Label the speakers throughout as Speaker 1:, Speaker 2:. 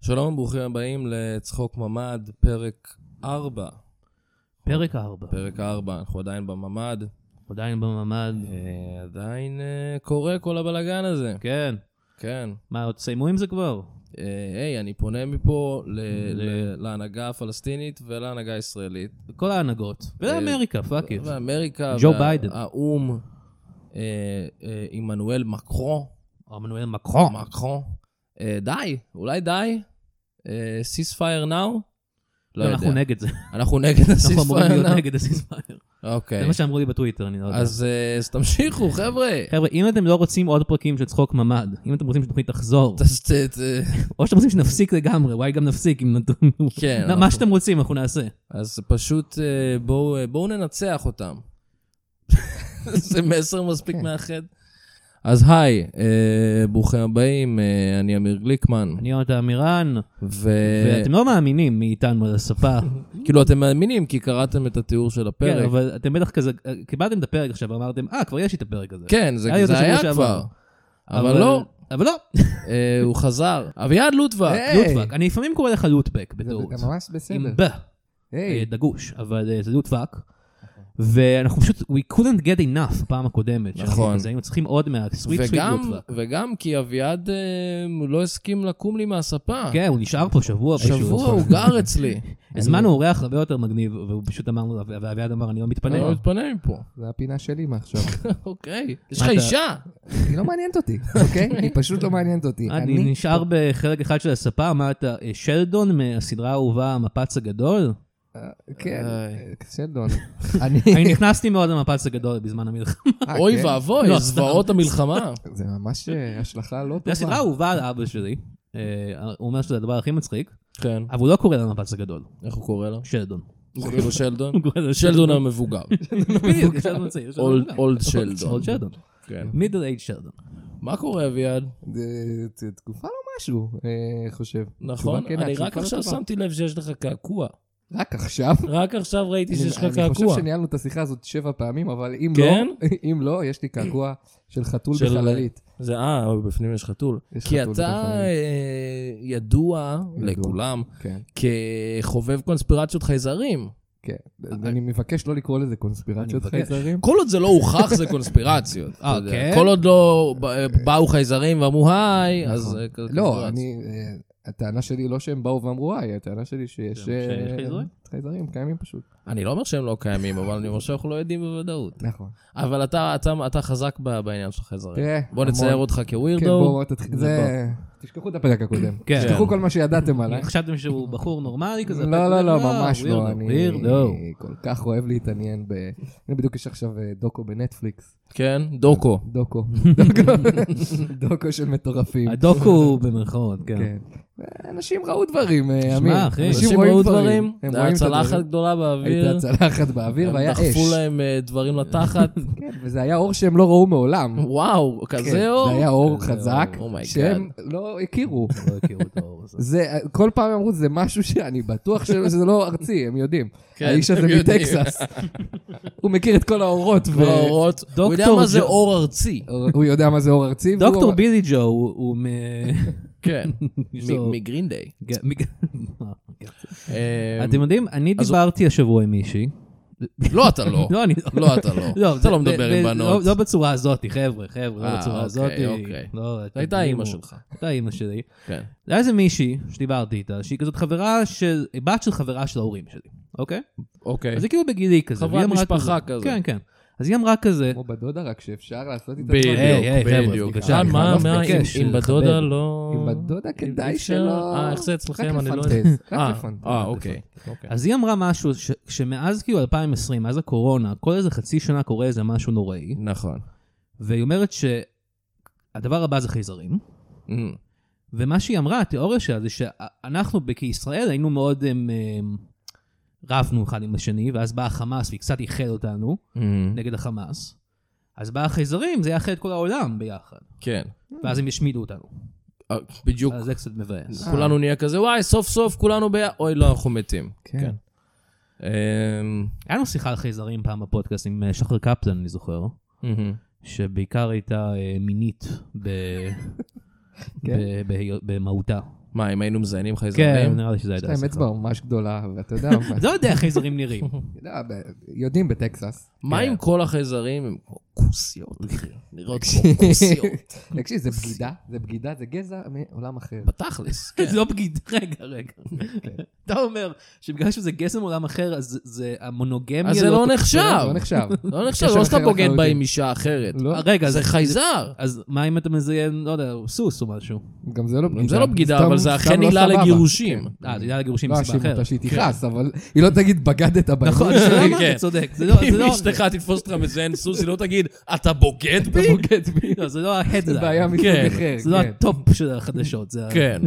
Speaker 1: שלום, ברוכים הבאים לצחוק ממ"ד, פרק 4. נכון.
Speaker 2: פרק 4,
Speaker 1: פרק 4, אנחנו עדיין בממ"ד,
Speaker 2: עדיין בממ"ד.
Speaker 1: אה, עדיין אה, קורה כל הבלגן הזה.
Speaker 2: כן.
Speaker 1: כן.
Speaker 2: מה, עוד תסיימו עם זה כבר?
Speaker 1: אה, היי, אני פונה מפה ל- ל- להנהגה הפלסטינית ולהנהגה הישראלית.
Speaker 2: כל ההנהגות.
Speaker 1: אה,
Speaker 2: ואמריקה, פאק איט.
Speaker 1: ואמריקה,
Speaker 2: ג'ו
Speaker 1: וה-
Speaker 2: ביידן.
Speaker 1: האו"ם, אה, אה, עמנואל מקרון,
Speaker 2: עמנואל מקרון.
Speaker 1: מקרון. אה, די, אולי די. סיס פייר נאו? לא יודע.
Speaker 2: אנחנו נגד זה.
Speaker 1: אנחנו נגד
Speaker 2: אנחנו
Speaker 1: הסיס
Speaker 2: אמורים
Speaker 1: פייר
Speaker 2: להיות
Speaker 1: נאו?
Speaker 2: נגד הסיספייר.
Speaker 1: אוקיי.
Speaker 2: זה מה שאמרו לי בטוויטר, אני לא יודע.
Speaker 1: אז אה, אז תמשיכו,
Speaker 2: כן.
Speaker 1: חבר'ה.
Speaker 2: חבר'ה, אם אתם לא רוצים עוד פרקים של צחוק ממ"ד, אם אתם רוצים שהתוכנית תחזור,
Speaker 1: ת- ת- ת-
Speaker 2: או שאתם רוצים שנפסיק לגמרי, וואי גם נפסיק אם נדון.
Speaker 1: כן,
Speaker 2: מה
Speaker 1: אנחנו-
Speaker 2: שאתם רוצים, אנחנו נעשה.
Speaker 1: אז פשוט אה, בואו אה, בואו ננצח אותם. זה מסר מספיק מאחד. אז היי, אה, ברוכים הבאים, אה, אני אמיר גליקמן.
Speaker 2: אני יונתן אמירן, ואתם
Speaker 1: וכאילו,
Speaker 2: לא מאמינים מאיתנו על הספה.
Speaker 1: כאילו, אתם מאמינים כי קראתם את התיאור של
Speaker 2: כן,
Speaker 1: הפרק.
Speaker 2: אבל אתם בטח כזה, קיבלתם את הפרק עכשיו ואמרתם, אה, כבר יש לי את הפרק הזה.
Speaker 1: כן, זה
Speaker 2: היה לי אותו
Speaker 1: זה היה
Speaker 2: שבוע
Speaker 1: כבר.
Speaker 2: שעבר.
Speaker 1: אבל לא,
Speaker 2: אבל לא,
Speaker 1: אה, הוא חזר. אביעד לוטבק.
Speaker 3: היי.
Speaker 2: לוטפאק. אני לפעמים קורא לך לוטבק בטעות.
Speaker 3: זה ממש
Speaker 2: עם
Speaker 3: בסדר.
Speaker 2: ב,
Speaker 3: היי,
Speaker 2: אה, דגוש, אבל אה, זה לוטפאק. ואנחנו פשוט, we couldn't get enough בפעם הקודמת. שאנחנו
Speaker 1: נכון.
Speaker 2: כזה, היינו צריכים עוד מעט, סוויט סוויט
Speaker 1: וגם,
Speaker 2: לוטפאק.
Speaker 1: וגם כי אביעד אה, לא הסכים לקום לי מהספה.
Speaker 2: כן, הוא נשאר פה שבוע פשוט.
Speaker 1: שבוע הוא גר אצלי.
Speaker 2: הזמנו אורח הרבה יותר מגניב, והוא פשוט אמר, לו- ואביעד אמר, אני לא
Speaker 1: אני
Speaker 2: מתפנה.
Speaker 1: לא מתפנה מפה.
Speaker 3: זה הפינה שלי מעכשיו.
Speaker 1: אוקיי. יש
Speaker 2: מה
Speaker 1: לך
Speaker 2: אתה-
Speaker 1: אישה?
Speaker 3: היא לא מעניינת אותי, אוקיי? היא פשוט לא מעניינת אותי.
Speaker 2: אני נשאר בחלק אחד של הספה, מה אתה, אה, שלדון מהסדרה האהובה, המפץ הגדול?
Speaker 3: כן,
Speaker 1: איי.
Speaker 3: שלדון. אני...
Speaker 2: אני נכנסתי מאוד למפץ הגדול בזמן המלחמה.
Speaker 3: אה,
Speaker 1: אוי
Speaker 3: כן?
Speaker 1: ואבוי,
Speaker 2: לא,
Speaker 1: זוועות המלחמה.
Speaker 3: זה ממש אה, השלכה לא
Speaker 2: זה
Speaker 3: טובה.
Speaker 2: הסדרה האהובה על אבא שלי. אה, הוא אומר שזה הדבר הכי מצחיק,
Speaker 1: כן,
Speaker 2: אבל הוא לא קורא לה מפץ הגדול,
Speaker 1: איך הוא קורא לה?
Speaker 2: שלדון.
Speaker 1: הוא קורא לו שלדון?
Speaker 2: הוא קורא לה
Speaker 1: שלדון המבוגר.
Speaker 2: בדיוק, שלדון צעיר. שלדון
Speaker 1: אולד-
Speaker 2: מבוגר.
Speaker 1: אולד
Speaker 2: אולד
Speaker 1: שלדון.
Speaker 2: שלדון.
Speaker 1: כן.
Speaker 2: מידל אייד שלדון.
Speaker 1: מה קורה, אביעד?
Speaker 3: זה זה תקופה לא משהו, אה, חושב.
Speaker 1: נכון?
Speaker 3: כן,
Speaker 1: אני
Speaker 3: התשובה
Speaker 1: רק
Speaker 3: לא
Speaker 1: עכשיו
Speaker 3: טובה.
Speaker 1: שמתי לב שיש לך קעקוע.
Speaker 3: רק עכשיו?
Speaker 1: רק עכשיו ראיתי שיש לך
Speaker 3: אני אני חושב
Speaker 1: קעקוע.
Speaker 3: שניהלנו את השיחה הזאת שבע פעמים, אבל אם
Speaker 1: כן?
Speaker 3: לא, אם לא, יש לי קעקוע של חתול
Speaker 1: של-
Speaker 3: בחללית.
Speaker 1: זה אה, אבל בפנים יש חתול.
Speaker 3: יש
Speaker 1: כי
Speaker 3: חתול
Speaker 1: אתה
Speaker 3: בחיים.
Speaker 1: אה, ידוע לכולם
Speaker 3: כן,
Speaker 1: כחובב קונספירציות חייזרים.
Speaker 3: כן. אני מבקש לא לקרוא לזה קונספירציות
Speaker 2: אני מבקש.
Speaker 3: חייזרים.
Speaker 1: כל עוד זה לא הוכח, זה קונספירציות. אתה
Speaker 2: אה,
Speaker 1: יודע.
Speaker 3: אוקיי.
Speaker 2: כן?
Speaker 1: כל עוד לא ב- באו חייזרים ואמרו היי, אוקיי, אז
Speaker 3: נכון.
Speaker 1: זה כזה
Speaker 3: לא,
Speaker 1: קונספירציה.
Speaker 3: אני... אה, הטענה שלי לא שהם באו ואמרו היי, הטענה שלי שיש...
Speaker 2: שיש
Speaker 3: אה,
Speaker 2: חייזרים?
Speaker 3: חייזרים, קיימים פשוט.
Speaker 1: אני לא אומר שהם לא קיימים, אבל אני אומר שאנחנו לא יודעים בוודאות.
Speaker 3: נכון.
Speaker 1: אבל אתה- אתה אתה חזק ב- בעניין של חייזרים.
Speaker 3: תראה,
Speaker 1: בוא
Speaker 3: המון.
Speaker 1: נצייר אותך
Speaker 3: כן,
Speaker 1: כווירדו.
Speaker 3: בואו, תתחיל. זה... תשכחו את הפרק הקודם.
Speaker 2: כן.
Speaker 3: תשכחו כל מה שידעתם עליי.
Speaker 2: חשבתם שהוא בחור נורמלי כזה?
Speaker 3: לא, לא, לא, ממש לא.
Speaker 2: weirdo,
Speaker 3: אני
Speaker 2: weirdo.
Speaker 3: כל כך אוהב להתעניין ב... אני בדיוק יש עכשיו אה, דוקו בנטפליקס.
Speaker 1: כן, דוקו.
Speaker 3: דוקו. דוקו- דוקו של מטורפים.
Speaker 2: הדוקו במרכאות, כן.
Speaker 3: כן. אנשים ראו דברים, אה,
Speaker 2: שמע,
Speaker 3: אמיר.
Speaker 2: אחי,
Speaker 1: אנשים ראו דברים,
Speaker 3: הם רואים
Speaker 1: הייתה
Speaker 3: את
Speaker 1: צלחת
Speaker 3: הדברים.
Speaker 1: גדולה באוויר,
Speaker 3: הייתה צלחת באוויר והיה
Speaker 1: הם
Speaker 3: אש.
Speaker 1: דחפו להם אה, דברים לתחת.
Speaker 3: כן, וזה היה אור שהם לא ראו מעולם.
Speaker 1: וואו,
Speaker 3: כן,
Speaker 1: כזה אור? אה, oh
Speaker 3: זה היה אור
Speaker 1: כזה
Speaker 3: חזק,
Speaker 1: אור, אומייגאד.
Speaker 3: שהם לא הכירו.
Speaker 2: לא הכירו את האור הזה.
Speaker 3: זה, כל פעם אמרו, זה משהו שאני בטוח שזה לא ארצי, הם יודעים.
Speaker 1: כן,
Speaker 3: האיש הזה
Speaker 1: הם יודעים.
Speaker 3: מטקסס. הוא מכיר את כל האורות,
Speaker 1: כל האורות. לא, הוא יודע
Speaker 2: דוקטור
Speaker 1: מה זה
Speaker 2: ג'ו-
Speaker 1: אור ארצי.
Speaker 3: הוא יודע מה זה אור ארצי. והוא-
Speaker 2: דוקטור בילי ג'ו הוא הוא מ...
Speaker 1: כן,
Speaker 3: לא.
Speaker 2: יש לו-
Speaker 1: מגרינדיי.
Speaker 2: ג- מ-
Speaker 1: כן.
Speaker 2: אתם יודעים, אני דיברתי השבוע עם מישהי.
Speaker 1: לא, אתה לא.
Speaker 2: לא, אני
Speaker 1: לא, אתה לא. אתה
Speaker 2: זה-
Speaker 1: לא מדבר
Speaker 2: ב-
Speaker 1: עם
Speaker 2: ב-
Speaker 1: בנות.
Speaker 2: לא- לא בצורה הזאת, חבר'ה, חבר'ה,
Speaker 1: אה,
Speaker 2: לא בצורה
Speaker 1: אוקיי,
Speaker 2: הזאת.
Speaker 1: אוקיי.
Speaker 2: לא,
Speaker 1: זו הייתה
Speaker 2: תגזימו.
Speaker 1: אימא שלך.
Speaker 2: הייתה אימא שלי.
Speaker 1: כן.
Speaker 2: זה היה איזה מישהי שדיברתי איתה, שהיא כזאת חברה של, בת של חברה של ההורים שלי, אוקיי?
Speaker 1: אוקיי.
Speaker 2: אז היא כאילו בגילי כזה.
Speaker 1: חברת
Speaker 2: והיא אמרה
Speaker 1: משפחה כזה.
Speaker 2: כן, כן. אז היא אמרה כזה,
Speaker 3: כמו בדודה, רק שאפשר לעשות איתו...
Speaker 1: בדיוק,
Speaker 2: היי, היי, חבר'ה,
Speaker 1: בדיוק.
Speaker 2: בבקשה,
Speaker 1: אה,
Speaker 2: אני
Speaker 1: מה,
Speaker 2: חייב
Speaker 1: מה,
Speaker 2: לבקש,
Speaker 1: אם- אם
Speaker 2: לכבד.
Speaker 1: בדודה לא...
Speaker 3: עם הדודה כדאי
Speaker 1: אפשר-
Speaker 3: שלא-
Speaker 1: אה, איך זה
Speaker 3: רק
Speaker 1: אצלכם? אני לא
Speaker 3: לפנטז,
Speaker 1: יודע.
Speaker 3: רק
Speaker 1: אה,
Speaker 3: לפנטז.
Speaker 1: אה, אוקיי. אוקיי.
Speaker 2: אז היא אמרה משהו ש- שמאז כאילו 2020, מאז הקורונה, כל איזה חצי שנה קורה איזה משהו נוראי,
Speaker 1: נכון.
Speaker 2: והיא אומרת שהדבר הבא זה חייזרים,
Speaker 1: אמ,
Speaker 2: ומה שהיא אמרה, התיאוריה שלה זה שאנחנו ב- כישראל היינו מאוד, הם, הם, רבנו אחד עם השני, ואז בא החמאס וקצת איחד אותנו
Speaker 1: אמ,
Speaker 2: נגד החמאס, אז בא החייזרים, זה יאחד את כל העולם ביחד,
Speaker 1: כן.
Speaker 2: ואז הם ישמידו אותנו,
Speaker 1: אה, בדיוק.
Speaker 2: אז זה קצת
Speaker 3: אה.
Speaker 2: מבאס.
Speaker 1: כולנו נהיה כזה, וואי, סוף סוף כולנו ב... אוי, לא, אנחנו מתים.
Speaker 3: כן.
Speaker 1: אמ,
Speaker 2: היה לנו שיחה על חייזרים פעם בפודקאסט עם אה, שחר קפלן, אני זוכר.
Speaker 1: אמ,
Speaker 2: שבעיקר הייתה אה, מינית ב...
Speaker 3: כן.
Speaker 2: ב- ב- במהותה.
Speaker 1: מה, אם היינו מזיינים
Speaker 2: כן,
Speaker 1: חייזרים?
Speaker 2: נראה לי שזה
Speaker 3: יש
Speaker 2: הייתה
Speaker 3: להם אצבע ממש גדולה, ואתה יודע,
Speaker 2: אתה לא יודע איך חייזרים נראים.
Speaker 3: אתה יודע, ב- יודעים בטקסס.
Speaker 1: מה
Speaker 2: כן.
Speaker 1: אם כל החייזרים הם כמו כוסיות, אחי? נראות כמו כוסיות.
Speaker 3: תקשיב, זה בגידה, זה בגידה, זה גזע מעולם אחר.
Speaker 1: בתכלס, כן.
Speaker 2: זה לא בגיד, רגע, רגע.
Speaker 3: כן.
Speaker 2: אתה אומר שבגלל שזה גזם עולם אחר, אז זה המונוגמיה...
Speaker 1: אז זה לא נחשב.
Speaker 3: לא נחשב.
Speaker 1: לא נחשב,
Speaker 3: קשר
Speaker 1: לא שאתה
Speaker 3: אחר
Speaker 1: בוגד בה
Speaker 3: לחלוטין.
Speaker 1: עם אישה אחרת.
Speaker 3: לא,
Speaker 2: רגע,
Speaker 1: זה
Speaker 2: אז-
Speaker 1: חייזר.
Speaker 2: אז מה אם אתה מזיין, לא יודע, סוס או משהו? אה,
Speaker 3: גם זה לא
Speaker 1: גם
Speaker 3: בגידה.
Speaker 1: זה לא בגידה,
Speaker 3: סתם-
Speaker 1: אבל זה
Speaker 3: סתם
Speaker 1: אכן
Speaker 3: לא
Speaker 1: נגלה
Speaker 3: סבבה.
Speaker 1: לגירושים.
Speaker 3: כן.
Speaker 2: אה, זה עניין לגירושים
Speaker 3: לא
Speaker 2: מסיבה
Speaker 3: אאשים
Speaker 2: אחרת.
Speaker 3: אותה שהיא תכעס, אבל היא לא תגיד בגדת בה.
Speaker 2: נכון, זה לא מה,
Speaker 1: כן.
Speaker 2: אתה צודק. זה לא... זה
Speaker 1: אם
Speaker 2: לא-
Speaker 1: אשתך תתפוס אותך מזיין סוס, היא לא תגיד, אתה בוגד
Speaker 2: אתה
Speaker 1: בי?
Speaker 2: בוגד בי. לא, זה לא
Speaker 3: זה בעיה
Speaker 2: ההדליין.
Speaker 3: מסוג
Speaker 1: כן.
Speaker 3: אחר.
Speaker 2: זה לא
Speaker 3: כן.
Speaker 2: הטופ של החדשות. זה ה-
Speaker 1: כן.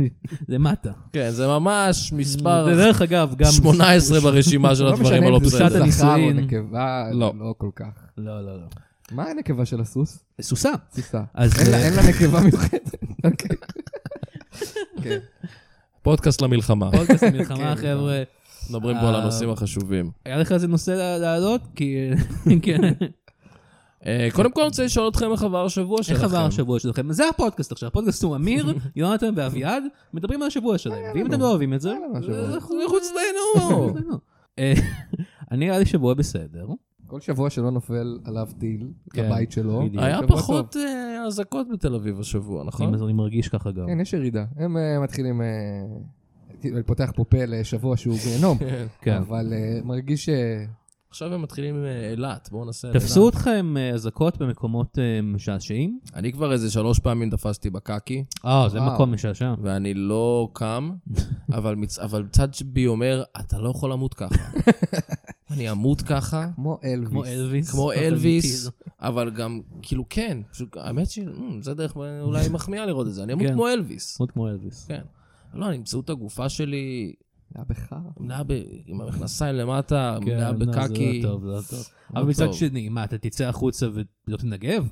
Speaker 2: זה מטה.
Speaker 1: כן, זה ממש מספר
Speaker 2: זה דרך אגב, גם...
Speaker 1: 18 ברשימה של
Speaker 3: לא
Speaker 1: הדברים
Speaker 3: משנה
Speaker 1: הלא
Speaker 3: אם זה
Speaker 1: בסדר.
Speaker 2: קדושת
Speaker 3: זכר או
Speaker 2: הנישואין.
Speaker 3: נקבה,
Speaker 1: לא.
Speaker 3: לא כל כך.
Speaker 2: לא, לא, לא.
Speaker 3: מה הנקבה של הסוס?
Speaker 2: סוסה.
Speaker 3: סוסה.
Speaker 2: אז...
Speaker 3: אין לה-
Speaker 2: אה,
Speaker 3: אין לה נקבה מיוחדת. אוקיי. כן.
Speaker 1: פודקאסט למלחמה.
Speaker 2: פודקאסט מלחמה,
Speaker 3: כן,
Speaker 2: חבר'ה.
Speaker 1: מדברים פה על הנושאים החשובים.
Speaker 2: היה לך איזה נושא לה- להעלות? כי... כן.
Speaker 1: אה, קודם כל אני רוצה לשאול אתכם איך עבר השבוע שלכם.
Speaker 2: איך עבר השבוע שלכם? זה הפודקאסט עכשיו, הפודקאסט הוא אמיר, יונתן ואביעד, מדברים על השבוע שלהם, ואם
Speaker 3: לנו.
Speaker 2: אתם לא אוהבים את זה,
Speaker 3: היה לנו אה, השבוע. אה,
Speaker 2: אז אנחנו-
Speaker 1: לכו תצטיינו.
Speaker 2: תזדיינו. אה, אני היה לי שבוע בסדר,
Speaker 3: כל שבוע שלא נופל עליו טיל,
Speaker 2: כן,
Speaker 3: לבית שלו.
Speaker 2: בדיוק.
Speaker 1: היה
Speaker 3: שבוע טוב.
Speaker 1: פחות אה, אזעקות בתל אביב השבוע, נכון?
Speaker 2: אני- אני מרגיש ככה גם.
Speaker 3: כן, יש ירידה. הם אה, מתחילים... אה, כאילו, אני פותח פה פה לשבוע שהוא גיהנום,
Speaker 2: כן.
Speaker 3: אבל אה, מרגיש ש...
Speaker 1: עכשיו הם מתחילים עם אה, אילת, בואו נעשה על אילת.
Speaker 2: תפסו אתכם אה, אזעקות במקומות אה, משעשעים?
Speaker 1: אני כבר איזה שלוש פעמים תפסתי בקקי,
Speaker 2: אה, זה
Speaker 3: וואו.
Speaker 2: מקום משעשע. ואני-
Speaker 1: ואני לא קם, אבל מצ- אבל צד בי אומר, אתה לא יכול למות ככה. אני אמות ככה,
Speaker 3: כמו אלוויס.
Speaker 2: כמו אלוויס.
Speaker 1: כמו
Speaker 2: אתה
Speaker 1: אלוויס,
Speaker 2: מכיר.
Speaker 1: אבל גם, כאילו, כן. פשוט, האמת ש- אמ, זה דרך אולי מחמיאה לראות את זה, אני אמות
Speaker 2: כן.
Speaker 1: כמו אלוויס.
Speaker 2: מאוד כמו אלוויס.
Speaker 1: כן. לא, אני ימצאו את הגופה שלי,
Speaker 3: היה בחרא.
Speaker 1: מלאה ב- עם המכנסיים למטה,
Speaker 2: כן,
Speaker 1: מלאה
Speaker 2: לא, זה
Speaker 1: בקקי.
Speaker 2: לא טוב, זה לא טוב.
Speaker 1: לא
Speaker 2: אבל מצד
Speaker 1: טוב.
Speaker 2: שני, מה, אתה תצא החוצה ולא תנגב?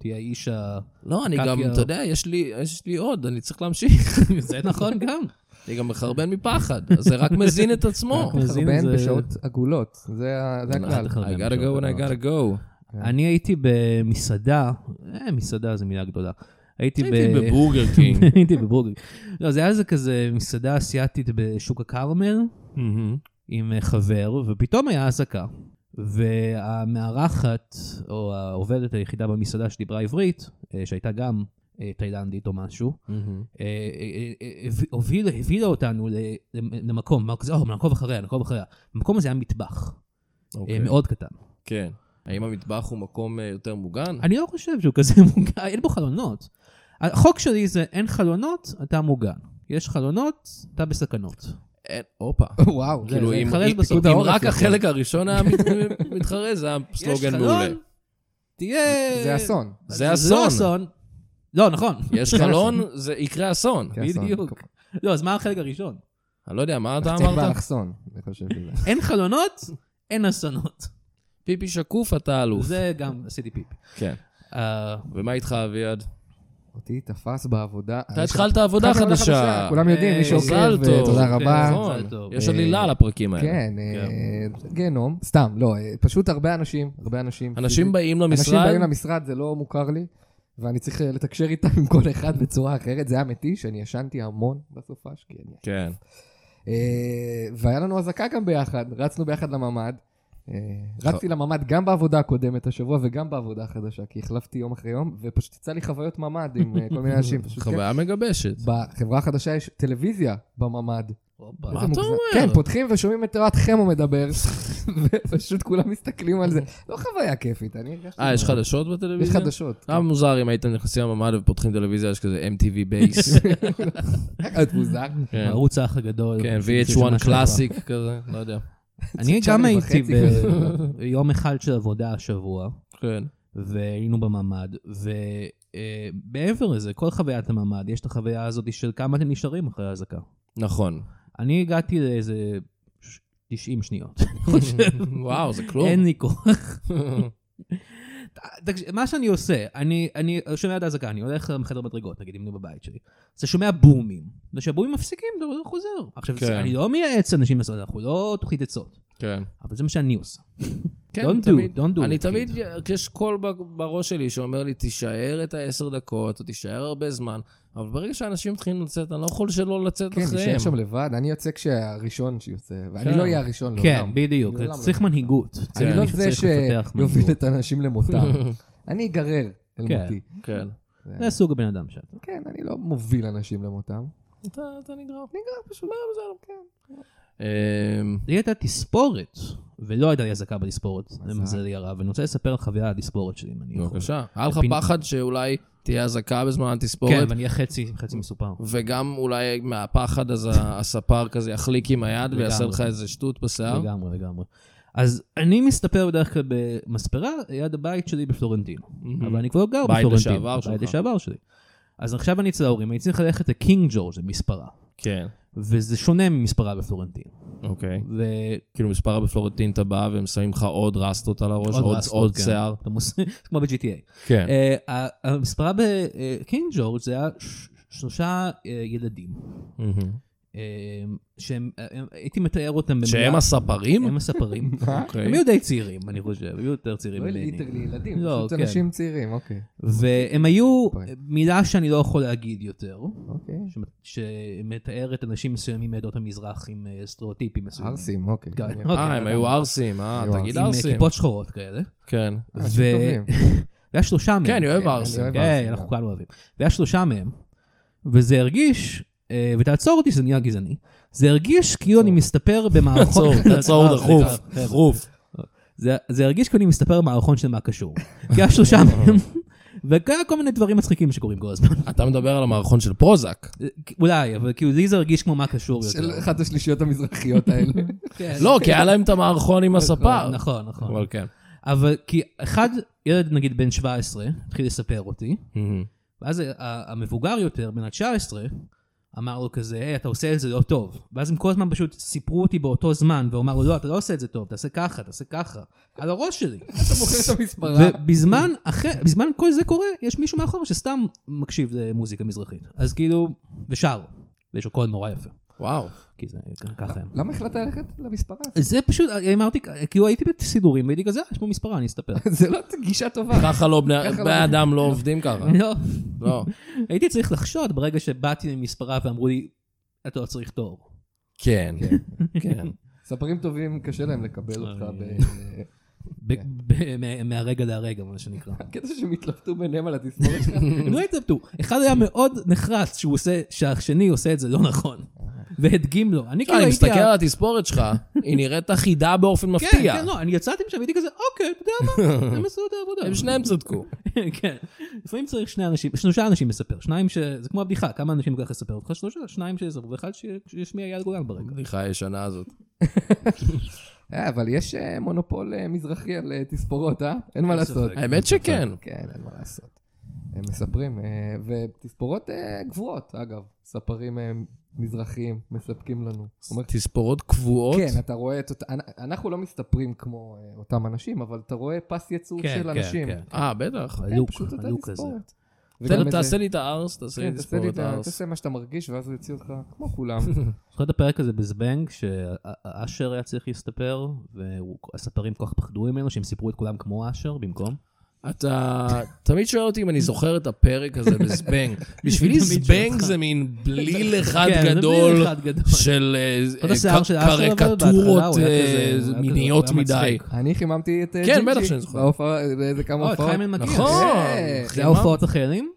Speaker 2: תהיה האיש ה...
Speaker 1: לא, אני
Speaker 2: קקי
Speaker 1: גם,
Speaker 2: ה-
Speaker 1: אתה יודע, יש לי יש לי עוד, אני צריך להמשיך.
Speaker 2: זה נכון גם.
Speaker 1: אני גם מחרבן מפחד, אז זה רק מזין אה, את עצמו.
Speaker 2: רק מזין
Speaker 3: חרבן
Speaker 2: זה-
Speaker 3: בשעות עגולות, זה ה- זה הכלל.
Speaker 1: I gotta go and I gotta go.
Speaker 2: אני הייתי במסעדה, אה, מסעדה זו מילה גדולה. הייתי ב...
Speaker 1: הייתי בבורגר קינג.
Speaker 2: הייתי בבורגר. לא, זה היה איזה כזה מסעדה אסיאתית בשוק הכרמל עם אה, חבר, ופתאום היה אזעקה. והמארחת, או העובדת היחידה במסעדה שדיברה עברית, אה, שהייתה גם אה, תאילנדית או משהו, אה, אה, אה, אה, הובילה, הובילה אותנו ל- למקום, אמר כזה, "או, נעקוב אחריה, נעקוב אחריה. המקום הזה היה מטבח, אה,
Speaker 1: אוקיי.
Speaker 2: מאוד קטן.
Speaker 1: כן. האם המטבח הוא מקום אה, יותר מוגן?
Speaker 2: אני לא חושב שהוא כזה מוגן, אין בו חלונות. החוק שלי זה אין חלונות, אתה מוגן. יש חלונות, אתה בסכנות.
Speaker 1: אין, אה, הופה.
Speaker 3: וואו.
Speaker 1: כאילו,
Speaker 2: זה
Speaker 1: אם
Speaker 2: התחרז
Speaker 1: אם-
Speaker 2: בסוף.
Speaker 1: אם
Speaker 3: העורף
Speaker 1: רק
Speaker 3: יכול.
Speaker 1: החלק הראשון היה מת- מתחרז, זה
Speaker 2: יש
Speaker 1: הסלוגן מעולה.
Speaker 2: חלון, תהיה...
Speaker 3: זה אסון.
Speaker 1: זה
Speaker 2: לא
Speaker 1: אסון.
Speaker 2: אסון. לא, נכון.
Speaker 1: יש חלון, זה יקרה אסון.
Speaker 3: כן, אסון.
Speaker 2: בדיוק. לא, אז מה החלק הראשון?
Speaker 1: אני לא יודע, מה אתה
Speaker 3: צריך
Speaker 1: אמרת?
Speaker 3: באלכסון, אני חושב שזה.
Speaker 2: אין חלונות, אין אסונות.
Speaker 1: פיפי שקוף, אתה אלוף.
Speaker 2: זה גם עשיתי פיפי.
Speaker 1: כן.
Speaker 2: אה,
Speaker 1: ומה איתך, אביעד?
Speaker 3: אותי תפס בעבודה.
Speaker 1: אתה התחלת עבודה חדשה.
Speaker 3: כולם יודעים,
Speaker 2: אה,
Speaker 3: מי שעוקב,
Speaker 1: מזל
Speaker 3: אה,
Speaker 1: טוב.
Speaker 3: תודה
Speaker 2: כן,
Speaker 3: רבה.
Speaker 2: נכון.
Speaker 1: נכון.
Speaker 2: זה טוב.
Speaker 1: יש עלילה על הפרקים האלה.
Speaker 3: כן, אה, גיהנום, סתם, לא, אה, פשוט הרבה אנשים, הרבה אנשים.
Speaker 1: אנשים באים
Speaker 3: אנשים
Speaker 1: למשרד,
Speaker 3: באים למשרד, זה לא מוכר לי, ואני צריך אה, לתקשר איתם עם כל אחד בצורה אחרת. זה היה מתיש, אני ישנתי המון בסופש, כי אני...
Speaker 1: כן.
Speaker 3: אה, והיה לנו אזעקה גם ביחד, רצנו ביחד לממ"ד. אה, רצתי לממ"ד גם בעבודה הקודמת השבוע וגם בעבודה החדשה, כי החלפתי יום אחרי יום, ופשוט יצא לי חוויות ממ"ד עם אה, כל מיני אנשים. פשוט כיף.
Speaker 1: חוויה מגבשת.
Speaker 3: בחברה החדשה יש טלוויזיה בממ"ד.
Speaker 2: הופה.
Speaker 1: מה
Speaker 3: איזה
Speaker 1: אתה
Speaker 3: מוגזם.
Speaker 1: אומר?
Speaker 3: כן, פותחים ושומעים את רעת חמו מדבר, ופשוט כולם מסתכלים על זה. לא חוויה כיפית, אני הרגשתי...
Speaker 1: אה, יש
Speaker 3: מאוד.
Speaker 1: חדשות אה,
Speaker 3: יש
Speaker 1: בטלוויזיה?
Speaker 3: חדשות. כן.
Speaker 1: היה מוזר אם הייתם נכנסים לממ"ד ופותחים טלוויזיה, יש כזה MTV
Speaker 3: כן.
Speaker 1: בייס.
Speaker 3: את מוזר.
Speaker 1: כן,
Speaker 2: הערוץ האח הגדול.
Speaker 1: כן,
Speaker 2: שיש שם
Speaker 1: VH1
Speaker 2: משהו נורא.
Speaker 1: קלאסיק כזה, לא יודע.
Speaker 2: אני
Speaker 3: צ'אנל
Speaker 2: גם הייתי
Speaker 3: וחצי
Speaker 2: ביום אחד של עבודה השבוע,
Speaker 1: כן.
Speaker 2: והיינו בממ"ד, ומעבר לזה, כל חוויית הממ"ד, יש את החוויה הזאת של כמה אתם נשארים אחרי האזעקה.
Speaker 1: נכון.
Speaker 2: אני הגעתי לאיזה ש- 90 שניות, חושב.
Speaker 1: וואו, זה כלום.
Speaker 2: אין לי כוח. תקשיב, מה שאני עושה, אני, אני שומע את האזעקה, אני הולך לחדר מדרגות, נגיד, אם אני בבית שלי. אז אתה שומע בומים. וכשהבומים מפסיקים, זה חוזר. עכשיו,
Speaker 1: כן.
Speaker 2: אני לא מייעץ לאנשים לעשות, אנחנו לא תוכנית עצות.
Speaker 1: כן.
Speaker 2: אבל זה מה שאני עושה.
Speaker 1: כן,
Speaker 2: Don't do,
Speaker 1: תמיד.
Speaker 2: don't do
Speaker 1: אני
Speaker 2: it,
Speaker 1: תמיד,
Speaker 2: כאילו.
Speaker 1: יש קול ב- בראש שלי שאומר לי, תישאר את העשר דקות, או תישאר הרבה זמן, אבל ברגע שאנשים מתחילים לצאת, אני לא יכול שלא לצאת
Speaker 3: כן,
Speaker 1: אחריהם.
Speaker 3: נשאר שם לבד, אני יוצא כשהראשון שיוצא, ואני
Speaker 1: כן.
Speaker 3: לא אהיה הראשון לעולם.
Speaker 2: כן, בדיוק.
Speaker 3: לעולם לא.
Speaker 2: צריך מנהיגות.
Speaker 3: אני לא
Speaker 2: מישהו
Speaker 3: זה
Speaker 2: צריך לפתח
Speaker 3: שיוביל
Speaker 2: מנהיגות.
Speaker 3: את האנשים למותם. אני אגרר אל
Speaker 2: כן.
Speaker 3: מותי.
Speaker 1: כן.
Speaker 2: זה סוג הבן אדם שאתה.
Speaker 3: כן, אני לא מוביל אנשים למותם.
Speaker 1: אתה אתה נגרר. לא, כן.
Speaker 3: נגרר פשוט.
Speaker 1: אמ,
Speaker 2: לי הייתה תספורת, ולא הייתה לי אזעקה בתספורת,
Speaker 3: מזל.
Speaker 2: למזלי הרב. אני רוצה לספר על חוויה התספורת שלי, אם אני יכול.
Speaker 1: בבקשה. היה לך
Speaker 2: פיני-
Speaker 1: פחד שאולי תהיה אזעקה בזמן
Speaker 2: כן,
Speaker 1: התספורת,
Speaker 2: ואני אהיה חצי, חצי מסופר.
Speaker 1: וגם אולי מהפחד אז ה- הספר כזה יחליק עם היד ויעשה
Speaker 2: לגמרי.
Speaker 1: לך איזה שטות בשיער?
Speaker 2: לגמרי, לגמרי. אז אני מסתפר בדרך כלל במספרה ליד הבית שלי בפלורנטינו.
Speaker 1: מהמם.
Speaker 2: אבל אני כבר גר
Speaker 1: בית
Speaker 2: בפלורנטינו.
Speaker 1: לשעבר שלך.
Speaker 2: בית לשעבר שלי. אז עכשיו אני אצל ההורים, אני צריך ללכת לקינג ג'ורג' למספרה.
Speaker 1: כן,
Speaker 2: וזה שונה ממספרה בפלורנטינו.
Speaker 1: אוקיי.
Speaker 2: ו-
Speaker 1: כאילו מספר בפלורטין אתה בא והם שמים לך עוד רסטות על הראש, עוד-
Speaker 2: רסטות,
Speaker 1: עוד
Speaker 2: כן.
Speaker 1: שיער.
Speaker 2: אתה מוס- כמו ב-GTA.
Speaker 1: כן.
Speaker 2: אה, ה- המספרה בקינג ג'ורג' זה היה ש- שלושה אה, ילדים,
Speaker 1: מהמם.
Speaker 2: אה, שהם, אה, הם- הייתי מתאר אותם במילה.
Speaker 1: שהם הספרים?
Speaker 2: הם הספרים.
Speaker 1: אוקיי.
Speaker 2: הם היו די צעירים, אני חושב, היו יותר צעירים
Speaker 3: לא
Speaker 2: ממני.
Speaker 3: ליטרלי ילדים,
Speaker 2: לא,
Speaker 3: פשוט
Speaker 2: כן.
Speaker 3: אנשים צעירים, אוקיי.
Speaker 2: והם היו
Speaker 3: פואנט.
Speaker 2: מילה שאני לא יכול להגיד יותר,
Speaker 3: אוקיי.
Speaker 2: שמת- שמתארת אנשים מסוימים מעדות המזרח עם אה, סטריאוטיפים מסוימים.
Speaker 3: ערסים, אוקיי.
Speaker 2: כן.
Speaker 3: מעניין.
Speaker 2: אוקיי,
Speaker 1: אה, הם היו ערסים, אה,
Speaker 3: היו
Speaker 1: תגיד
Speaker 2: עם אה,
Speaker 1: ערסים.
Speaker 2: כיפות שחורות כאלה.
Speaker 1: כן.
Speaker 3: אה, אנשים
Speaker 2: ו-
Speaker 3: טובים.
Speaker 2: והיה שלושה מהם.
Speaker 1: כן, אני אוהב
Speaker 3: כן,
Speaker 1: ערסים.
Speaker 3: אני אוהב
Speaker 2: כן,
Speaker 3: ערסים,
Speaker 2: אנחנו
Speaker 3: גם.
Speaker 2: כולנו אוהבים. והיה שלושה מהם, וזה הרגיש, אה, ותעצור אותי שזה נהיה גזעני, זה הרגיש כאילו אני מסתפר במערכון...
Speaker 3: אוקיי,
Speaker 1: עצור, עצור
Speaker 2: אה,
Speaker 1: דחוף,
Speaker 2: חבר'ה.
Speaker 1: דחוף.
Speaker 2: זה זה הרגיש כאילו אני מסתפר במערכון של מה קשור. כי היה שלושה מהם, והיה כל מיני דברים מצחיקים שקורים כל הזמן.
Speaker 1: אתה מדבר על המערכון של פרוזק.
Speaker 2: אולי, אבל כאילו לי זה הרגיש כמו מה קשור
Speaker 3: של
Speaker 2: יותר.
Speaker 3: אחת השלישיות המזרחיות האלה.
Speaker 2: כן.
Speaker 1: לא, כי היה להם את המערכון עם הספר.
Speaker 2: נכון, נכון.
Speaker 1: אבל כן.
Speaker 2: אבל כי אחד, ילד נגיד בן 17, התחיל לספר אותי,
Speaker 1: מהמם.
Speaker 2: ואז ה- המבוגר יותר, בן ה-19, אמר לו כזה, היי, אתה עושה את זה לא טוב. ואז הם כל הזמן פשוט סיפרו אותי באותו זמן, והוא אמר לו, לא, אתה לא עושה את זה טוב, תעשה ככה, תעשה ככה. על הראש שלי.
Speaker 3: אתה מוכר את המספרה.
Speaker 2: ובזמן אחרי, בזמן כל זה קורה, יש מישהו מאחור שסתם מקשיב למוזיקה מזרחית. אז כאילו, ושר. ויש לו קול נורא יפה.
Speaker 1: וואו.
Speaker 2: כי זה ככה הם.
Speaker 3: למה החלטת ללכת למספרה?
Speaker 2: זה פשוט, אמרתי, כאילו הייתי בסידורים, והייתי כזה, "אה, יש פה מספרה, אני אסתפר.
Speaker 3: זה לא גישה טובה.
Speaker 1: ככה לא, בני-
Speaker 3: ככה לא-
Speaker 1: בני אדם לא עובדים ככה.
Speaker 2: לא,
Speaker 1: לא.
Speaker 2: הייתי צריך לחשוד ברגע שבאתי למספרה ואמרו לי, אתה לא צריך תור.
Speaker 1: כן, כן.
Speaker 3: ספרים טובים, קשה להם לקבל אותך ב...
Speaker 2: ב-
Speaker 1: כן.
Speaker 2: ב- מה- מהרגע להרגע, מה שנקרא.
Speaker 3: הקטע שהם התלבטו ביניהם על התספורת שלך.
Speaker 2: הם לא התלבטו, אחד היה מאוד נחרץ שהוא עושה, שהשני עושה את זה לא נכון, והדגים לו. אני כאילו
Speaker 1: לא, אני
Speaker 2: הייתי...
Speaker 1: מסתכל
Speaker 2: ה-
Speaker 1: על התספורת שלך, היא נראית אחידה באופן
Speaker 2: כן,
Speaker 1: מפתיע.
Speaker 2: כן, לא, אני יצאתי משם, הייתי כזה, אוקיי, אתה יודע מה, הם עשו את העבודה.
Speaker 1: הם שניהם צדקו.
Speaker 2: כן, לפעמים צריך שני אנשים, שלושה אנשים לספר, שניים ש... זה כמו הבדיחה, כמה אנשים לוקח לספר אותך? שלושה, שניים שיספרו, ואחד ש- שישמיע יד גולן ברקע.
Speaker 1: הבדיחה הישנה הזאת.
Speaker 3: אה, אבל יש אה, מונופול אה, מזרחי על אה, תספורות, אה? אין מה לעשות.
Speaker 2: ספק.
Speaker 1: האמת שכן.
Speaker 3: כן, אין מה לעשות. הם מספרים, אה, ותספורות אה, גבוהות, אגב. ספרים אה, מזרחיים מספקים לנו. אומר,
Speaker 1: תספורות קבועות.
Speaker 3: כן, אתה רואה את אותם, אנחנו לא מסתפרים כמו אה, אותם אנשים, אבל אתה רואה פס ייצור
Speaker 2: כן,
Speaker 3: של
Speaker 2: כן,
Speaker 3: אנשים.
Speaker 2: כן.
Speaker 1: אה, בטח.
Speaker 3: כן,
Speaker 2: הלוק,
Speaker 3: פשוט אותה
Speaker 2: הלוק הזה.
Speaker 3: תספורת.
Speaker 1: תן-
Speaker 3: וגם איזה-
Speaker 1: תעשה לי את הארס, תעשה לי
Speaker 3: כן, תעשה לי
Speaker 1: תספורת
Speaker 3: את ה...
Speaker 1: הארס.
Speaker 3: תעשה מה שאתה מרגיש, ואז הוא יוציא אותך כמו כולם.
Speaker 2: זוכר את הפרק הזה בזבנג, שאשר היה צריך להסתפר, והספרים כל כך פחדו ממנו, שהם סיפרו את כולם כמו אשר במקום.
Speaker 1: אתה תמיד שואל אותי אם אני זוכר את הפרק הזה בזבנג. בשבילי
Speaker 2: תמיד שואל
Speaker 1: זבנג
Speaker 2: אותך.
Speaker 1: זה מין בליל אחד
Speaker 2: כן, זה בלי
Speaker 1: גדול
Speaker 2: אחד גדול.
Speaker 1: של אה,
Speaker 2: כל
Speaker 1: אה,
Speaker 2: השיער
Speaker 1: ק-
Speaker 2: של האשר, אבל בהתחלה
Speaker 1: קריקטורות
Speaker 2: הוא היה
Speaker 1: אה,
Speaker 2: כזה- הוא היה
Speaker 1: מיניות
Speaker 2: כזה- הוא היה
Speaker 1: מדי.
Speaker 2: מצחיק.
Speaker 3: אני חיממתי את אה, ג'ינג'י.
Speaker 1: כן, בטח שאני זוכר.
Speaker 3: בהופעה, באיזה כמה
Speaker 2: או, אה, את
Speaker 3: הופעות.
Speaker 2: חיים אלמגיר.
Speaker 1: נכון.
Speaker 3: כן.
Speaker 2: זה
Speaker 1: חימם.
Speaker 2: ההופעות החיילים?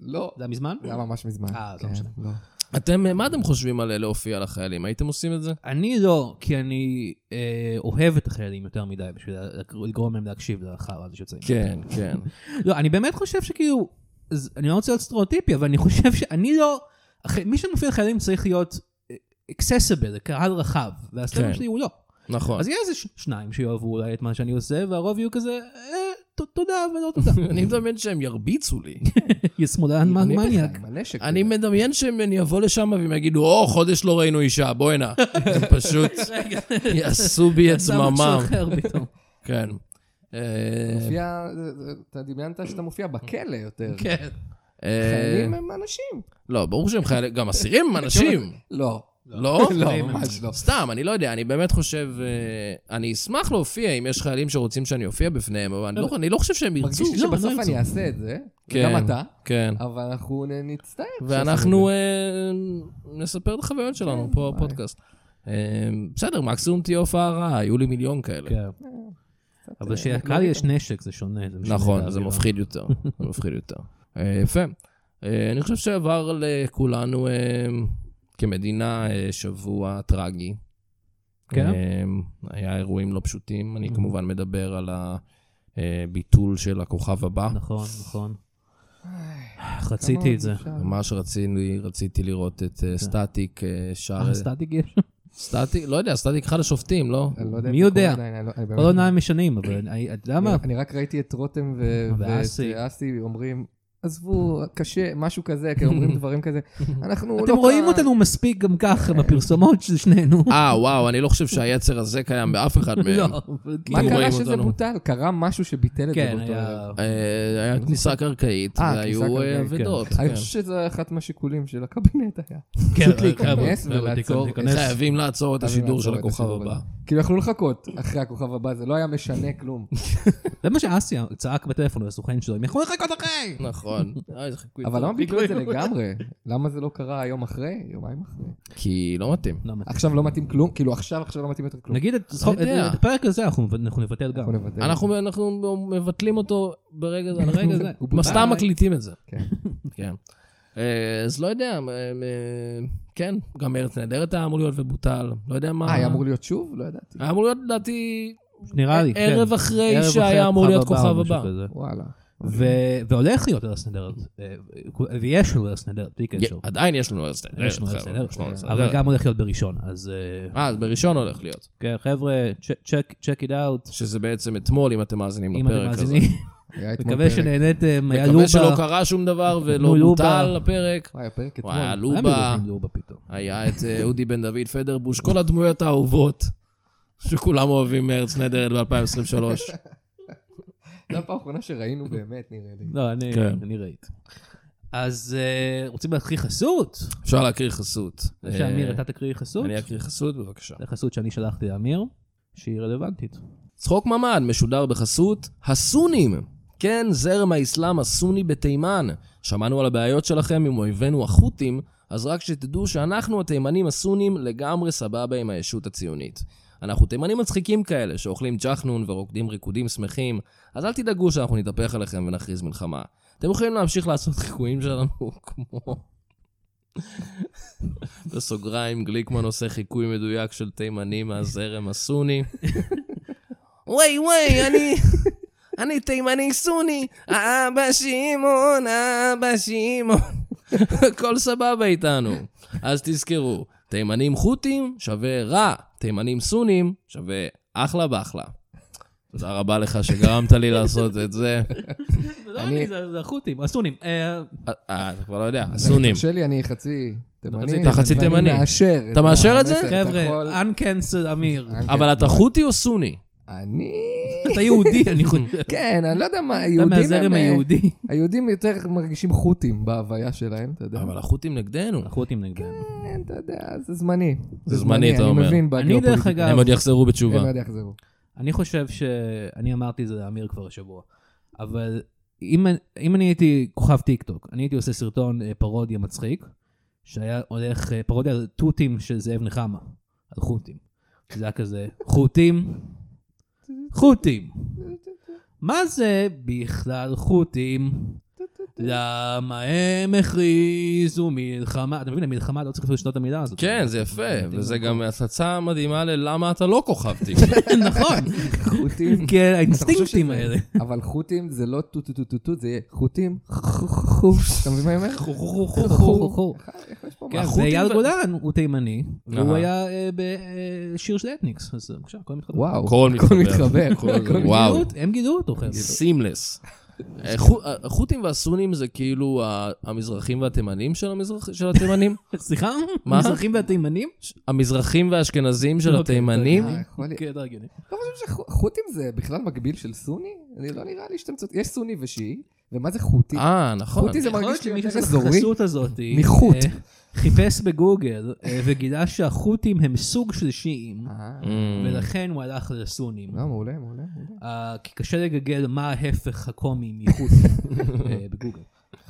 Speaker 3: לא,
Speaker 2: זה היה מזמן?
Speaker 3: זה היה ממש מזמן.
Speaker 2: אה, אז לא
Speaker 3: כן,
Speaker 2: משנה.
Speaker 3: לא.
Speaker 1: אתם, אה, מה אתם חושבים על אה, להופיע לחיילים? הייתם עושים את זה?
Speaker 2: אני לא, כי אני אה, אוהב את החיילים יותר מדי בשביל לה- לגרום להם להקשיב לאחר הזה שיוצאים.
Speaker 1: כן, כן.
Speaker 2: לא, אני באמת חושב שכאילו, אז אני לא רוצה להיות סטריאוטיפי, אבל אני חושב שאני לא... אחי- מי שמופיע לחיילים צריך להיות אה, אקססיבל, לקהל רחב, והסטנדאפ
Speaker 1: כן.
Speaker 2: שלי הוא לא.
Speaker 1: נכון.
Speaker 2: אז יהיה איזה ש- שניים שיאהבו אולי את מה שאני עושה, והרוב יהיו כזה, אה, ת- תודה, אבל לא תודה.
Speaker 1: אני מדמיין שהם ירביצו לי.
Speaker 2: יא שמאלן מה-
Speaker 3: אני
Speaker 2: מניאק.
Speaker 3: בכלל, עם הנשק.
Speaker 1: אני מדמיין שהם אני אבוא לשם והם יגידו, או, חודש לא ראינו אישה, בואי נא. הם פשוט יעשו בי את
Speaker 2: עשה משהו
Speaker 1: זממם.
Speaker 2: אחר פתאום.
Speaker 1: כן. אה,
Speaker 3: מופיע, זה- זה- אתה דמיינת שאתה מופיע בכלא יותר.
Speaker 2: כן.
Speaker 1: אה,
Speaker 3: חיילים הם אנשים.
Speaker 1: לא, ברור שהם חיילים, גם אסירים הם אנשים.
Speaker 3: לא.
Speaker 1: לא?
Speaker 3: לא, ממש לא.
Speaker 1: סתם, אני לא יודע, אני באמת חושב... אה, אני אשמח להופיע אם יש חיילים שרוצים שאני אופיע בפניהם, אבל אני לא- אני לא חושב שהם ירצו.
Speaker 3: מרגיש לי
Speaker 2: לא, לא
Speaker 3: שבסוף
Speaker 2: ירצו.
Speaker 3: אני אעשה את זה,
Speaker 1: כן,
Speaker 3: גם אתה,
Speaker 1: כן.
Speaker 3: אבל אנחנו נ- נצטער.
Speaker 1: ואנחנו אה, נספר את החוויות שלנו
Speaker 3: כן,
Speaker 1: פה בפודקאסט. אה, בסדר, מקסימום תהיה הופעה רעה, היו לי מיליון כאלה.
Speaker 2: כן. אבל כשהקהל יש נשק זה שונה. זה משנה את
Speaker 1: נכון, זה
Speaker 2: האווירה.
Speaker 1: מפחיד יותר. זה מפחיד יותר. אה, יפה. אה, אני חושב שעבר לכולנו אה, כמדינה אה, שבוע טרגי.
Speaker 2: כן.
Speaker 1: אה, היה אירועים לא פשוטים. אני כמובן מדבר על הביטול של הכוכב הבא.
Speaker 2: נכון, נכון. רציתי את זה.
Speaker 1: ממש רציתי, רציתי לראות את אה, סטטיק אה, שר...
Speaker 2: אה, סטטיק יש?
Speaker 1: סטטיק, לא יודע, סטטיק אחד השופטים, לא?
Speaker 2: מי יודע?
Speaker 3: לא-
Speaker 2: לא כל עונה הם משנים, אבל אני- אתה יודע מה?
Speaker 3: אני רק ראיתי את רותם ו-
Speaker 2: ואסי.
Speaker 3: ואת אסי אומרים, עזבו, קשה, משהו כזה, כי אומרים דברים כזה. אנחנו לא...
Speaker 2: אתם רואים
Speaker 3: כאן."
Speaker 2: אותנו מספיק גם כך בפרסומות של שנינו.
Speaker 1: אה, וואו, אני לא חושב שהיצר הזה קיים באף אחד מהם.
Speaker 2: לא, אבל
Speaker 3: כן. מה
Speaker 2: כאילו,
Speaker 1: אתם
Speaker 3: קרה
Speaker 1: רואים
Speaker 3: שזה
Speaker 1: אותנו.
Speaker 3: בוטל? קרה משהו שביטל את זה
Speaker 2: כן,
Speaker 3: באותו
Speaker 2: היה...
Speaker 3: ערב.
Speaker 1: אה, היה כניסה קרקעית,
Speaker 3: אה,
Speaker 1: והיו
Speaker 3: כניסה
Speaker 1: אה,
Speaker 3: קרקעית, כן.
Speaker 1: אבדות.
Speaker 3: אני
Speaker 1: כן.
Speaker 3: חושב שזה אחד מהשיקולים של הקבינט היה.
Speaker 2: כן,
Speaker 3: פשוט
Speaker 2: אבל-
Speaker 3: להיכנס
Speaker 2: אבל- אבל
Speaker 3: ולעצור.
Speaker 2: תיכנס.
Speaker 1: חייבים לעצור את השידור של
Speaker 3: לעצור את
Speaker 1: הכוכב
Speaker 3: הסיבוב
Speaker 1: הבא.
Speaker 3: הזה. כאילו יכלו לחכות אחרי הכוכב הבא, זה לא היה משנה כלום.
Speaker 2: זה מה שאסיה צעק בטלפון לסוכן שלו, הם יכולים לחכות אחרי!
Speaker 1: נכון. אה, איזה חיקוי
Speaker 3: אבל
Speaker 1: טוב.
Speaker 3: למה ביטלו את זה לגמרי? למה זה לא קרה יום אחרי? יומיים אחרי?
Speaker 1: כי לא מתאים.
Speaker 2: לא, מה-
Speaker 3: עכשיו לא מתאים כלום? כאילו עכשיו, עכשיו לא מתאים יותר כלום.
Speaker 2: נגיד את צחוק-
Speaker 1: לא יודע.
Speaker 2: את הפרק הזה אנחנו אנחנו נבטל גם.
Speaker 3: אנחנו נבטל.
Speaker 1: אנחנו אנחנו מבטלים אותו ברגע זה, על רגע זה.
Speaker 3: הוא בוטל.
Speaker 1: סתם מקליטים את זה.
Speaker 3: כן.
Speaker 1: כן. אה, אז לא יודע, אה, אה, כן, גם ארץ נהדרת היה אמור להיות ובוטל. לא יודע מה. אה.
Speaker 3: אה, היה אמור להיות שוב? לא ידעתי.
Speaker 1: היה אמור להיות, לדעתי,
Speaker 2: נראה לי, כן.
Speaker 1: ערב אחרי
Speaker 2: ערב
Speaker 1: שהיה אמור להיות
Speaker 2: או
Speaker 1: כוכב
Speaker 2: משהו
Speaker 1: הבא.
Speaker 2: כזה.
Speaker 3: וואלה.
Speaker 2: ו- והולך להיות ארץ נהדרת. אה, ויש לנו ארץ נהדרת, בלי קשר.
Speaker 1: יה- עדיין יש לנו ארץ
Speaker 3: אה,
Speaker 1: נהדרת.
Speaker 2: כן, יש לנו ארץ
Speaker 1: חבר'ה,
Speaker 2: נהדרת. כן.
Speaker 1: יש לנו ארץ
Speaker 2: אבל
Speaker 1: נהדרת.
Speaker 2: גם הולך להיות בראשון, אז אה,
Speaker 1: אה, אז בראשון הולך להיות.
Speaker 2: כן, חבר'ה, צ'ק איט אאוט,
Speaker 1: שזה בעצם אתמול, אם אתם מאזינים
Speaker 2: אם אתם
Speaker 1: לפרק הזה.
Speaker 2: מאזינים.
Speaker 3: היה אתמול
Speaker 2: מקווה
Speaker 3: פרק.
Speaker 2: שנהניתם, היה
Speaker 1: מקווה שלא
Speaker 2: לובה.
Speaker 1: קרה שום דבר ולא
Speaker 2: נו, לובה.
Speaker 1: בוטל הפרק.
Speaker 3: וואי, הפרק אתמול.
Speaker 1: וואי,
Speaker 2: היה
Speaker 1: לובה,
Speaker 2: מילואים לובה פתאום.
Speaker 1: היה את אה, אודי בן דוד פדרבוש, כל הדמויות האהובות שכולם אוהבים מארץ נהדרת ב-2023.
Speaker 3: זו הפעם האחרונה שראינו באמת, נראה לי.
Speaker 2: לא, אני,
Speaker 1: כן.
Speaker 2: אני ראיתי. אז אה, רוצים להקריא חסות?
Speaker 1: אפשר להקריא חסות.
Speaker 2: או שאמיר,
Speaker 1: אה,
Speaker 2: אתה תקריא חסות?
Speaker 1: אני אקריא חסות, בבקשה.
Speaker 2: זה חסות שאני שלחתי לאמיר, שהיא רלוונטית.
Speaker 1: צחוק ממ"ד משודר בחסות הסונים. כן, זרם האסלאם הסוני בתימן. שמענו על הבעיות שלכם עם אויבינו החות'ים, אז רק שתדעו שאנחנו התימנים הסונים לגמרי סבבה עם הישות הציונית. אנחנו תימנים מצחיקים כאלה, שאוכלים ג'חנון ורוקדים ריקודים שמחים, אז אל תדאגו שאנחנו נתהפך עליכם ונכריז מלחמה. אתם יכולים להמשיך לעשות חיקויים שלנו כמו... בסוגריים, גליקמן עושה חיקוי מדויק של תימנים מהזרם הסוני. וואי וואי, אני... אני תימני סוני, אבא שמעון, אבא שמעון. הכל סבבה איתנו. אז תזכרו, תימנים חות'ים שווה רע, תימנים סונים שווה אחלה באחלה. תודה רבה לך שגרמת לי לעשות את זה.
Speaker 2: זה לא אני, זה זה החות'ים, הסונים. אה,
Speaker 1: אה, אה, אתה כבר לא יודע, הסונים.
Speaker 3: תרשה לי, אני חצי תימני.
Speaker 1: אתה חצי תימני.
Speaker 3: ואני מאשר.
Speaker 1: אתה מאשר את זה?
Speaker 3: המסר, אתה יכול-
Speaker 2: חבר'ה, אה, uncancel אמיר.
Speaker 1: אבל אתה חות'י או סוני?
Speaker 3: אני...
Speaker 2: אתה יהודי, אני חושב.
Speaker 3: כן, אני לא יודע מה,
Speaker 2: אתה
Speaker 3: היהודים
Speaker 2: מהזרם
Speaker 3: הם... אה,
Speaker 2: היהודי.
Speaker 3: היהודים יותר מרגישים חות'ים בהוויה שלהם, אתה יודע.
Speaker 1: אבל החות'ים נגדנו.
Speaker 2: החות'ים נגדנו.
Speaker 3: כן, אתה יודע, זה זמני.
Speaker 1: זה זמני, אתה אומר.
Speaker 3: אני מבין
Speaker 2: אני דרך
Speaker 3: בגיאופוליטיקה.
Speaker 2: אגב,
Speaker 1: הם עוד יחזרו בתשובה.
Speaker 3: הם עוד יחזרו.
Speaker 2: אני חושב ש... אני אמרתי את זה לאמיר כבר השבוע, אבל אם, אם אני הייתי כוכב טיקטוק, אני הייתי עושה סרטון אה, פרודיה מצחיק, שהיה הולך, אה, פרודיה על תותים של זאב נחמה, על חותים. זה היה כזה, חותים, חותים. מה זה בכלל חותים? למה הם הכריזו מלחמה? אתה מבין, המלחמה, לא צריך אפילו לשנות את המילה הזאת.
Speaker 1: כן, זה יפה, וזה גם הצצה מדהימה ללמה אתה לא כוכבתי.
Speaker 2: נכון. כן,
Speaker 3: חות'ים. אתה חושב
Speaker 2: האינסטינקטים
Speaker 3: שזה-
Speaker 2: האלה.
Speaker 3: אבל חות'ים זה לא טו טו טו טו טו, זה יהיה חות'ים. אתה מבין מה אני אומר?
Speaker 2: חו חו חו
Speaker 3: חו,
Speaker 2: חו חו.
Speaker 3: איך יש פה
Speaker 2: כן,
Speaker 1: החות'ים
Speaker 2: ואייל
Speaker 1: ו-
Speaker 2: גולן הוא תימני, והוא
Speaker 1: אהה.
Speaker 2: היה אה, בשיר של אתניקס, אז אה, בבקשה, הכל מתחבר.
Speaker 3: וואו,
Speaker 1: כן. הכל
Speaker 3: הכל
Speaker 1: מתחבר.
Speaker 3: מתחבר.
Speaker 1: הכל מתחבר.
Speaker 3: הכל
Speaker 2: הם
Speaker 1: וואו.
Speaker 2: גילו אותו- הם גילו אותו, חבר'ה.
Speaker 3: כאילו-
Speaker 1: סימלס. אה, החות'ים והסונים זה כאילו ה- המזרחים והתימנים של המזרח- של התימנים?
Speaker 2: סליחה?
Speaker 1: מה? לא,
Speaker 2: המזרחים והתימנים?
Speaker 1: המזרחים והאשכנזים של
Speaker 2: אוקיי,
Speaker 1: התימנים?
Speaker 3: אה, יכול להיות.
Speaker 2: כן, זה הגיוני.
Speaker 3: לא חושב שחות'ים זה בכלל מקביל של סוני? אני לא נראה לי שאתם צודקים. יש סוני ושיעי, ומה זה חותי?
Speaker 1: אה, נכון.
Speaker 3: חותי זה
Speaker 2: יכול להיות
Speaker 3: מרגיש לי
Speaker 2: שמישהו
Speaker 3: יותר
Speaker 2: עשה את
Speaker 3: אזורי.
Speaker 2: החסות הזאת, אה,
Speaker 3: מחוט.
Speaker 2: חיפש בגוגל אה, וגילה שהחות'ים הם סוג של שיעים,
Speaker 3: אה,
Speaker 1: אמ,
Speaker 2: ולכן הוא הלך לסונים.
Speaker 3: לא, מעולה, מעולה. מעולה.
Speaker 2: אה, כי קשה לגגל מה ההפך הקומי מחות'ים אה, בגוגל.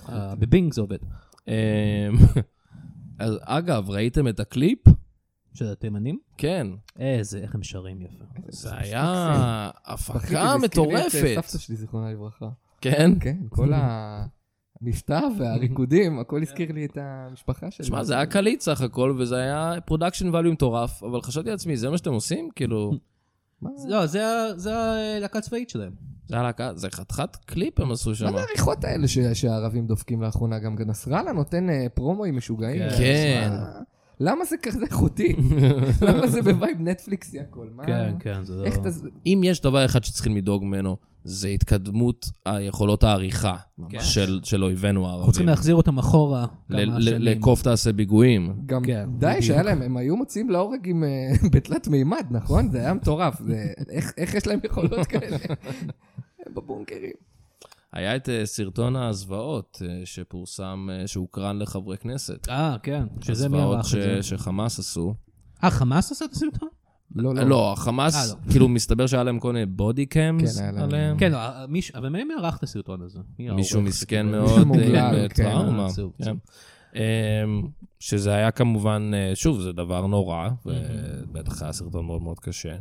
Speaker 2: אה, בבינג זה עובד,
Speaker 1: אמ, אז אגב, ראיתם את הקליפ?
Speaker 2: של התימנים.
Speaker 1: כן.
Speaker 2: איזה, אה, איך הם שרים יפה.
Speaker 1: זה היה
Speaker 3: בכיתי,
Speaker 1: הפקה
Speaker 3: זה הזכיר לי את, אה,
Speaker 1: מטורפת.
Speaker 3: סבתא שלי, זיכרונה לברכה.
Speaker 1: כן?
Speaker 3: כן, כל המבטא והריקודים, הכל הזכיר לי את המשפחה שלי.
Speaker 1: שמע, זה היה קליט סך הכל, וזה היה פרודקשן value מטורף, אבל חשבתי לעצמי, זה מה שאתם עושים? כאילו,
Speaker 3: מה?
Speaker 2: לא, זה ה- זה הלהקה צבאית שלהם.
Speaker 1: זה היה להקה, זה חתיכת קליפ הם עשו
Speaker 3: מה
Speaker 1: שם.
Speaker 3: זה העריכות האלה ש- שהערבים דופקים לאחרונה? גם נסראללה נותן אה, פרומואים משוגעים.
Speaker 1: כן.
Speaker 3: מה? למה זה כזה איכותי? למה זה בווייב נטפליקסי הכל? מה?
Speaker 2: כן, זה לא...
Speaker 3: אה. איך אתה...
Speaker 1: אם יש דבר אחד שצריכים לדאוג ממנו, זה התקדמות היכולות העריכה של- של אויבינו
Speaker 2: אנחנו צריכים
Speaker 1: הערבים.
Speaker 2: להחזיר אותם אחורה
Speaker 1: ל-
Speaker 2: כמה
Speaker 1: ל-
Speaker 2: שנים.
Speaker 1: לקוף תעשה פיגועים.
Speaker 3: גם
Speaker 2: כן,
Speaker 3: די,
Speaker 2: בדיוק.
Speaker 3: שהיה להם, הם היו מוציאים להורג עם אה, בתלת מימד, נכון? זה היה מטורף. זה- איך- איך יש להם יכולות כאלה? הם בבונקרים.
Speaker 1: היה את אה, סרטון הזוועות אה, שפורסם, אה, שהוקרן לחברי כנסת.
Speaker 2: אה, כן, שזה מי
Speaker 1: הזוועות
Speaker 2: ערך את זה.
Speaker 1: ש- שחמאס עשו.
Speaker 2: אה, חמאס עשה את הסרטון?
Speaker 1: לא,
Speaker 2: אה,
Speaker 1: החמאס,
Speaker 2: לא.
Speaker 1: כאילו, מסתבר שהיה להם כל מיני בודי קאמס
Speaker 3: כן, היה להם.
Speaker 1: עליהם.
Speaker 2: כן, לא, אה, מיש- אבל מי מי ערך את הסרטון הזה? מי העורך?
Speaker 1: מישהו מסכן
Speaker 2: מישהו
Speaker 1: מאוד,
Speaker 3: מוגלל,
Speaker 1: אה,
Speaker 3: כן,
Speaker 1: טראומה.
Speaker 2: עצוב,
Speaker 1: כן.
Speaker 2: עצוב.
Speaker 1: אמ, שזה היה כמובן, אה, שוב, זה דבר נורא, ובטח היה סרטון מאוד מאוד קשה.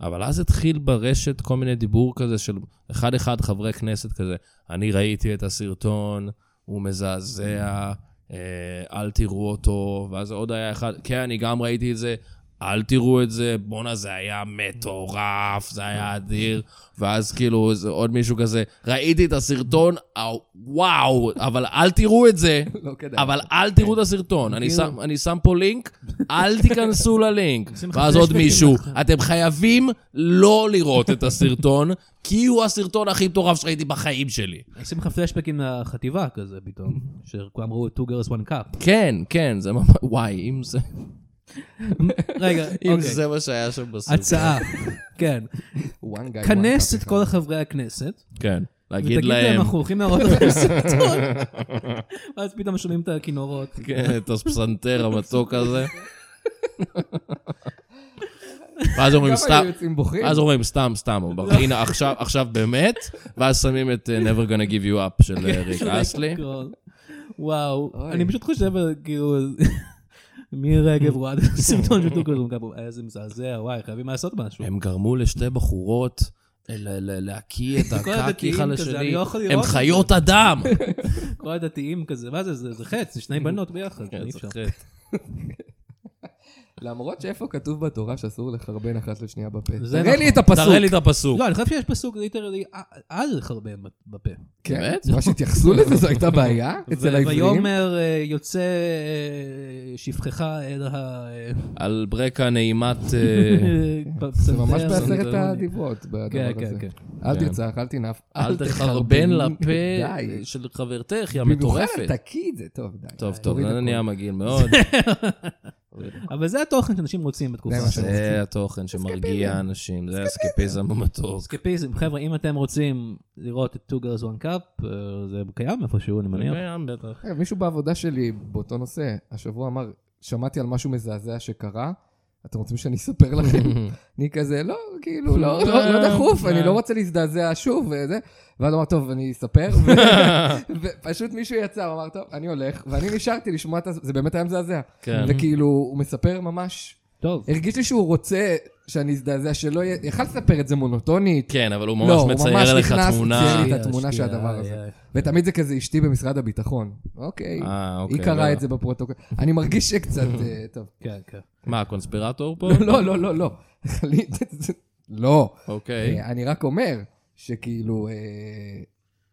Speaker 1: אבל אז התחיל ברשת כל מיני דיבור כזה של אחד-אחד חברי כנסת כזה, אני ראיתי את הסרטון, הוא מזעזע, אה, אל תראו אותו, ואז עוד היה אחד, כן, אני גם ראיתי את זה, אל תראו את זה, בואנה, זה היה מטורף, זה היה אדיר, ואז כאילו איזה עוד מישהו כזה, ראיתי את הסרטון, אה, וואו, אבל אל תראו את זה.
Speaker 3: לא
Speaker 2: כן.
Speaker 3: כדאי.
Speaker 1: אבל אל תראו את הסרטון, אני
Speaker 2: כאילו-
Speaker 1: שם- אני שם פה לינק, אל תיכנסו ללינק.
Speaker 2: עושים לך
Speaker 1: ואז עוד
Speaker 2: פלשבקים
Speaker 1: מישהו,
Speaker 2: לך.
Speaker 1: אתם חייבים לא לראות את הסרטון, כי הוא הסרטון הכי מטורף שראיתי בחיים שלי.
Speaker 2: עושים לך פלשבקים לחטיבה כזה פתאום, שכולם ראו את 2 Girls One Cup.
Speaker 1: כן, כן, זה ממש... וואי, אם זה...
Speaker 2: רגע,
Speaker 1: אם
Speaker 2: אוקיי,
Speaker 1: זה מה שהיה שם בסרטון.
Speaker 2: הצעה, כן.
Speaker 3: One guy, one
Speaker 2: כנס
Speaker 3: cup
Speaker 2: את
Speaker 3: אחד.
Speaker 2: כל חברי הכנסת,
Speaker 1: כן, להגיד
Speaker 2: ותגיד להם,
Speaker 1: להם...
Speaker 2: אנחנו הולכים להראות לכם סרטון. ואז פתאום שומעים את הכינורות.
Speaker 1: כן, את הפסנתר המתוק הזה. ואז אומרים,
Speaker 3: כמה
Speaker 1: סתם,
Speaker 3: היו יוצאים בוכים?
Speaker 1: אז אומרים, סתם, סתם, הוא אמר, הנה, עכשיו, עכשיו באמת, ואז שמים את אה, Never gonna give you up
Speaker 2: כן.
Speaker 1: של אה, ריק אסלי.
Speaker 2: כל- וואו,
Speaker 3: אוי.
Speaker 2: אני פשוט חושב על כאילו... מירי רגב רואה את הסרטון של טוקר זומקאפו, איזה מזעזע, וואי, חייבים לעשות משהו.
Speaker 1: הם גרמו לשתי בחורות אה, ל- ל- להקיא את הקקי
Speaker 2: הדתיים
Speaker 1: אחד
Speaker 2: כזה,
Speaker 1: לשני.
Speaker 2: אני לא יכול
Speaker 1: הם
Speaker 2: לראות את
Speaker 1: חיות אדם!
Speaker 2: כל הדתיים כזה, מה זה, זה זה חץ, זה שני בנות ביחד,
Speaker 1: כן,
Speaker 2: אי אפשר.
Speaker 3: למרות שאיפה כתוב בתורה שאסור לחרבן אחת לשנייה בפה.
Speaker 2: זה
Speaker 3: תראה לי את
Speaker 2: נכון.
Speaker 3: הפסוק.
Speaker 1: תראה לי את הפסוק.
Speaker 2: לא, אני חושב שיש פסוק ליטרלי, "אל- אל לחרבן בפה.
Speaker 3: כן,
Speaker 1: באמת?
Speaker 3: מה שהתייחסו לזה זו הייתה בעיה אצל
Speaker 2: ו-
Speaker 3: העבריים.
Speaker 2: ויאמר אה, יוצא אה, שפחך אל ה... אה,
Speaker 1: על ברקע נעימת... אה,
Speaker 3: זה
Speaker 2: פסנתר.
Speaker 3: ממש בעשרת
Speaker 2: סנדרמוני.
Speaker 3: הדיברות,
Speaker 2: כן,
Speaker 3: בדבר
Speaker 2: כן,
Speaker 3: הזה.
Speaker 2: כן.
Speaker 3: אל
Speaker 1: כן.
Speaker 3: תרצח, אל תנאף,
Speaker 1: אל תחרבן לפה
Speaker 3: די.
Speaker 1: של חברתך, היא
Speaker 3: במיוחד
Speaker 1: המטורפת.
Speaker 3: אל תקיא את זה, טוב, די. אה,
Speaker 1: טוב, טוב,
Speaker 3: תוריד
Speaker 1: זה
Speaker 3: הכל.
Speaker 1: נהיה מגעיל מאוד.
Speaker 2: אבל זה התוכן שאנשים רוצים בתקופה
Speaker 3: זה מה
Speaker 2: הזאת.
Speaker 3: שאני-
Speaker 1: זה התוכן שמרגיע אנשים, זה אסקפיזם במטוס.
Speaker 2: אסקפיזם, חבר'ה, אם אתם רוצים לראות את 2 Girls One Cup, אה, זה קיים איפשהו, אני מניח.
Speaker 1: קיים בטח.
Speaker 3: אה, מישהו בעבודה שלי באותו נושא, השבוע אמר, שמעתי על משהו מזעזע שקרה, אתם רוצים שאני אספר לכם? אני כזה, לא, כאילו, לא, לא, לא דחוף,
Speaker 1: אה.
Speaker 3: אני לא רוצה להזדעזע שוב וזה. ואז הוא אמר, טוב, אני אספר. ו- ופשוט מישהו יצא, הוא אמר, טוב, אני הולך, ואני נשארתי לשמוע את ה... זה באמת היה מזעזע.
Speaker 1: כן.
Speaker 3: וכאילו, הוא מספר ממש...
Speaker 2: טוב.
Speaker 3: הרגיש לי שהוא רוצה שאני אזדעזע, שלא יהיה... יכל לספר את זה מונוטונית.
Speaker 1: כן, אבל הוא
Speaker 3: לא,
Speaker 1: ממש
Speaker 3: הוא ממש
Speaker 1: מצייר לך
Speaker 3: נכנס,
Speaker 1: תמונה.
Speaker 3: צייר לי את
Speaker 2: שנייה,
Speaker 3: התמונה של
Speaker 2: שנייה,
Speaker 3: הדבר
Speaker 2: איי,
Speaker 3: הזה.
Speaker 2: איי.
Speaker 3: ותמיד זה כזה אשתי במשרד הביטחון. אוקיי.
Speaker 1: אה, אוקיי.
Speaker 3: היא קראה
Speaker 1: לא.
Speaker 3: את זה בפרוטוקול. אני מרגיש שקצת... אה, טוב.
Speaker 2: כן, כן.
Speaker 1: מה, הקונספירטור פה?
Speaker 3: לא, לא, לא, לא. לא.
Speaker 1: אוקיי.
Speaker 3: אה, אני רק אומר שכאילו, אה,